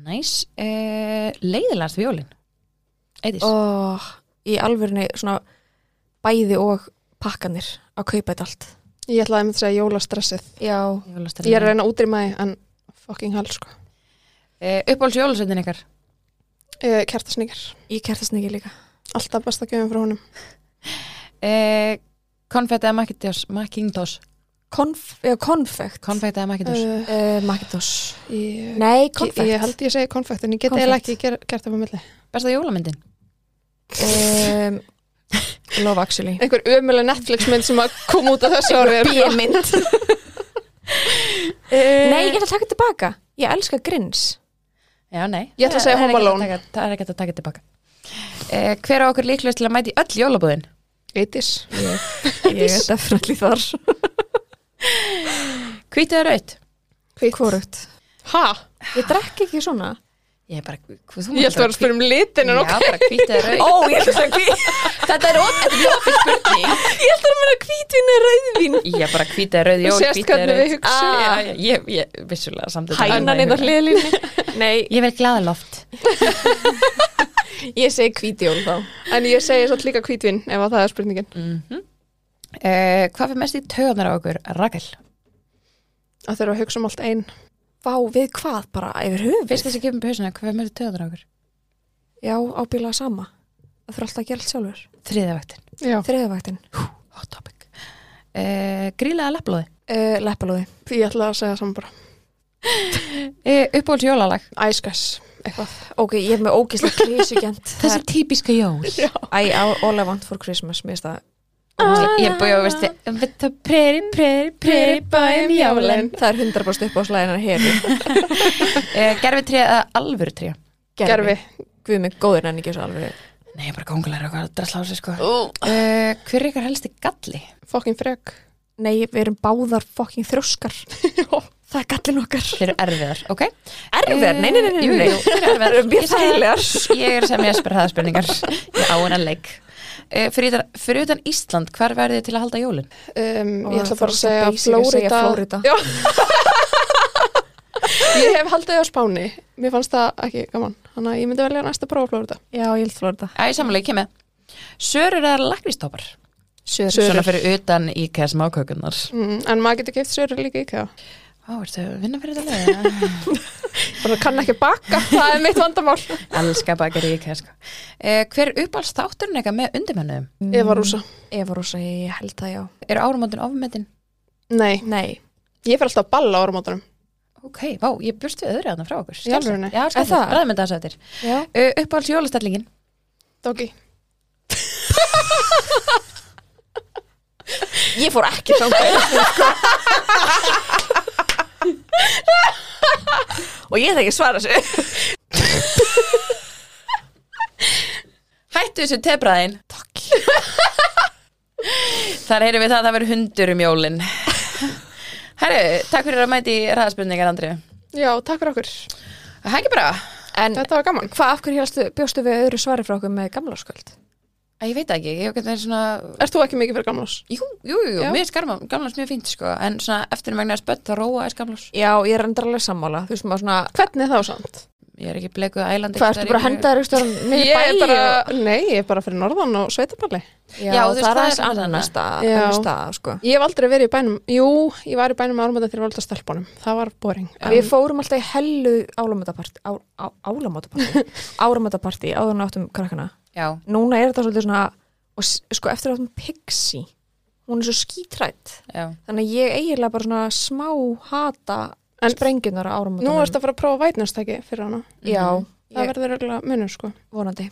Næs. Uh, leiðilast við jólinn. Eitís. oh, í alvörinu svona bæði og pakkanir að kaupa þetta allt Ég ætlaði einmitt að segja jólastressið. já, Ég er að reyna að útrýma því, en fucking hell, sko. Uh, uppáhalds jólasveitin ykkar. Uh, Kertasnýkar. ég kertast ekki líka Alltaf besta gjöfum frá honum. Uh, konfekt eða makintos? Makintos. Konf, já, konfekt Konfekt eða makintos. Uh, uh, Makitos ég, nei, ég, konfekt ég held ég segi konfekt, en ég get Konfekt. eða ekki ger, gert það með milli. Besta jólamyndin. um, love actually Einhver ömuleg Netflix mynd sem að koma út af þessu ári. B-mynd Uh, Eh, Nei, ég ætla að taka þetta tilbaka Ég elska grins Já, nei. Ég ætla Það- að segja það er Home ekki Alone. að taka- Það er ekki hægt að taka tilbaka. Uh, hver á okkur líklegast til að mæti öll jólabúðin? Eitis. Ég er definitely þar Hvítið eða raut? Hvorugt Ha? Ég drekk ekki svona Ég er bara, hvað þú Ég held að vera að spyrja um litin, en Já, bara hvítið eða raut. Ó, ég ætla að segja Þetta er ofið opið spurning Ég ætla að meina hvítin er rauðvín Ég bara hvítið rauð, jól, Þú sést hvítið hvernig rauð við hugsum. ah, já, já, Ég, ég vissulega samt þetta Hænan annað í er það huga. hliðlinni Nei, Ég verð glaða loft ég segi hvítjól þá En ég segi svolítið líka kvítvinn ef að það er spurningin. Mhm. uh, Hvað fyrir mest í töðunar á okkur? Rakel Að þurfa að hugsa um allt einn. Vá, við hvað bara yfir höfum Fyrst þess að kemur pösuna, hvað fyrir mest í töðunar á okkur? Já, ábíla sama Það þurfa alltaf að gera allt sjálfur Þriðja vaktin Já. Þriðavaktin Hot topic uh, Grílaða lapplóði uh, Leppalóði Ég ætla að segja saman bara. uh, Uppbóls Eh, jólalag Æskæs. eitthvað. Ok, ég er með ógislega krísugjönd Þessi típiska jól I all I want for Christmas Mér finnst það Ég er búið að veist Við það preri, preri, preri bæum jólin Það er 100% upp á slæðinar hér Gerfi tré Eh, eða alvöru tré Gerfi. Guð mig góður en ekki svo alveg Nei, ég er bara kongulega og hvað að drasla á sig sko Eh, Hver er ykkar helsti galli? Fokkin frek. Nei, við erum báðar fucking þrjóskar Það er gallin okkar Þeir eru erfiðar, ok? Erfiðar? Eh, Nei, nei, nei, nei, jú, nei. jú, þeir eru erfiðar. Eru mjög Ég sagði- þægilegar. Ég er sem ég spyr það spurningar Ég á hennar leik Eh, Fyrir utan- fyrir utan Ísland, hvar verðið þið til að halda jólin? Um, Ó, ég ætla það bara er að svo segja basic að segja Flórida. Flórída. Já. ég hef haldið á Spáni. Mér fannst það ekki gaman. Þannig að ég myndi velja næsta prófa Flórida. Já, ég held flór þetta Æ, samanlega, ég kem með Sörur eða lakrístoppar? Sörur. Svona fyrir utan IKEA smákökunar Mm, en maður getur keift sörur líka íkja. Á, ertu að vinna fyrir þetta leið? Bara kann ekki baka. það er mitt vandamál. Elskar bakar í IKEA, sko eh, Hver er uppáhalds þátturinn eitthvað með undirmennuðum? Eva Rúsa. Eva Rúsa, ég held það já Er árumótin ofmetin? Nei, Nei, ég fyrir alltaf að balla á áramótanum. Ok, vá, ég bjóst við öðru aðna frá okkur Í alvörunni? Já, Er það? skemmtilegt, ræðum þetta þessu eftir já uh, Uppáhalds jólastellingin Doggy. Ég fór ekki þangað Og ég ætla ekki að svara sér Hættu þessu tebræðin Takk Þar heyrum við það að það verður hundur um jólin Herru, takk fyrir að mæti ræðaspurningar, Andri Já, takk fyrir okkur. Það ekki bara En Þetta var gaman. hvað, af hverju helstu, bjóstu við öðru svari frá okkur með gamla sköld? Æ, Ég veit það ekki, ég er svona Ert þú ekki mikið fyrir gamlás? Jú, jú, jú, jú. Já. mér er skarma- gamlans mjög fínt sko En svona eftir megnar spött þá róa er skamlans Já, ég er endur alveg sammála Þú veist maður svona Hvernig þá samt? Ég er ekki blekuð ælandi Hvað, ertu bara að henda þér eitthvað með Ég er bara, nei, ég er bara fyrir norðan og sveitaballi. Já, Já, þú veist, það er það aðeins er annað. annar stað, Já. annar stað sko. Ég hef aldrei verið í bænum, jú, ég var í bænum áramöndan þegar ég var alltaf stelpunum. Það var boring. Við fórum alltaf í hellu álamötaparti á, á, Álamótapartí Áramötaparti áður en við áttum krakkana Já, Núna er þetta svolítið svona og s- sko eftir að við áttum Pixie hún er svo skítrætt já þannig að ég eiginlega bara svona smá hata En- sprengjurnar á árum Nú ertu Mhm. að fara að prófa vætnastæki fyrir hana. já, Það ég, verður örgulega munur, sko. vonandi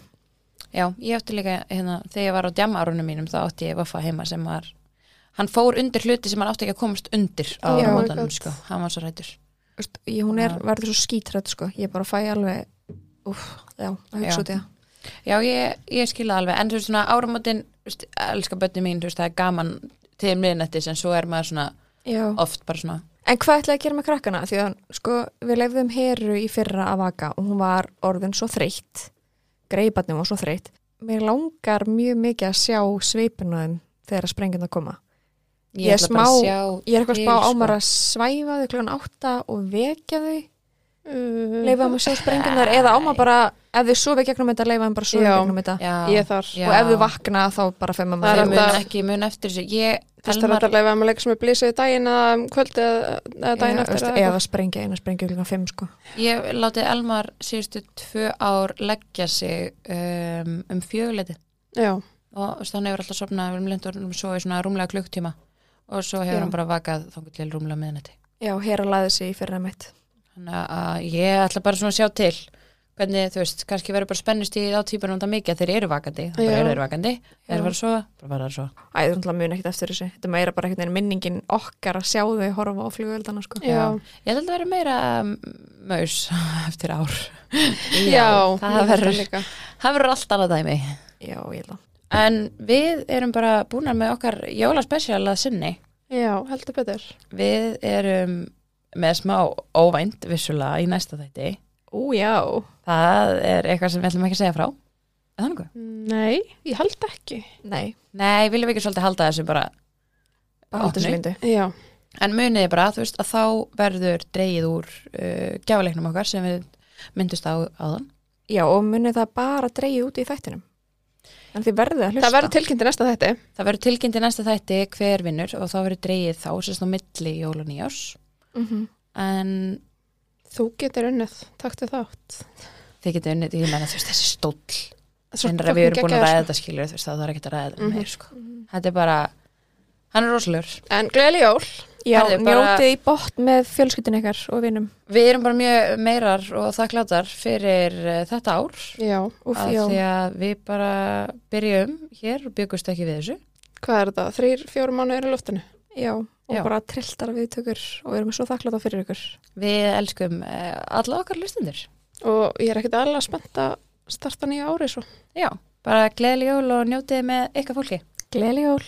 Já, ég átti líka hérna, þegar ég var á djamárunum mínum þá átti ég vaffa heima sem var hann fór undir hluti sem hann átti ekki að komast undir á Oh my áramótanum, God. sko, hann var svo rættur Vist, ég, hún er, Já. verður svo skítrætt sko ég bara fæ alveg uff, já, að Já. hugsa út í það Já, ég, ég skilða alveg, en þú veist svona áramótin veist, elska bönni mín, þú veist, það er gaman til miðnættis, en svo er maður svona já. oft bara svona, en hvað ætlaði að gera með krakkana því að sko við leifðum heru í fyrra að vaka og hún var orðin svo þreytt greiparnum var svo þreytt mér langar mjög mikið að sjá sveipunaðum þegar sprengjurnar koma ég, Ég ætla bara smá- að sjá ég er eitthvað til, spá sko. ámar að svæfa þau klugan átta og vekja þau Uh, leifa þeim að sjá sprengjurnar eða á maður bara ef þau sofi gegnum þetta, leifa þeim bara að sofi Já. gegnum þetta já, Ég er þar. já. og ef þau vakna þá bara fer maður Það Þau er að muna leifa þetta- ekki, muna eftir þessu ég, Þess þarf Elmar, alltaf að leifa um að leika sem er blísið daginn eða um kvöldið eða eða daginn Já, eftir. veistu, eða eitthvað. eða sprengja eina sprengja klukkan 5 sko ég látið Elmar síðustu tvö ár leggja sig um, um fjöguleiti Já, og þú veist, hann hefur alltaf sopnað um lendur og svo í svona rúmlega klukktíma og svo hefur Já. hann bara vakað þangað til rúmlega miðnætti já, hér að laði sig í fyrra mitt þannig að ég ætla bara svona að sjá til hvernig þú veist, kannski verður bara spennust í á típunum það mikið að þeir eru vakandi það Já. bara eru þeir vakandi, þeir eru bara svo bara bara svo, Æ, þú náttúrulega mun ekkert eftir þessu þetta er meira bara einhvern veginn minningin okkar að sjá þau horfa á flugöldana sko já. ég held að vera meira um, maus eftir ár Já, það verður- ég held líka. það verður allt annað dæmi já, ég ætla en við erum bara búnar með okkar jólaspecial að sinni Já, heldur betur. við erum með smá óvænt vissulega í næsta þætti ú, já Það er eitthvað sem við ætlum ekki að segja frá. Er það nokkuð? Nei, ég held ekki. nei, Nei, viljum við ekki svolítið halda þessu bara bara haldur Opni. þessu lindu Já, En muniði bara, þú veist, að þá verður dreigið úr uh, gjáleiknum okkar sem við myndust á áðan. já, og munið það bara dreigi út í þættinum en þið verðið að hlusta það verður tilkynnt í næsta þetta. Það verður tilkynnt í næsta þætti hver vinnur og þá verður dreigið þá, sérst á milli jól og nýjás. Mhm. En Þú getur unnið, taktu þátt. þið getur unnið, ég menna, þú veist, þessi stóll. Svo En fucking við erum búin að geggjaður, ræða sko. þetta skilur, Mhm. þú veist, það er ekkert að ræða þetta meir, sko. Þetta er bara, hann er rosalur. En gleðileg jól. Já, Herðu, bara- njótið í bótt með fjölskyldin ykkar og vinum Við erum bara mjög meirar og þakklátar fyrir eh, þetta ár Já, Úf, að já, því að við bara byrjum hér og byggust ekki við þessu hvað er þetta? Þrýr, fjórum mánuður í loftinu? já, og Já. bara trilltar viðtökur og við erum svo þakkláta fyrir ykkur Við elskum eh, alla okkar lustendur Og ég er ekkert alveg spennt að starta nýja ári svo. Já, bara gleðileg jól og njótið með ykkar fólki Gleðileg jól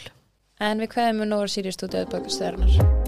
En við kveðum nú á Sirius Studio Bökkustæðarnar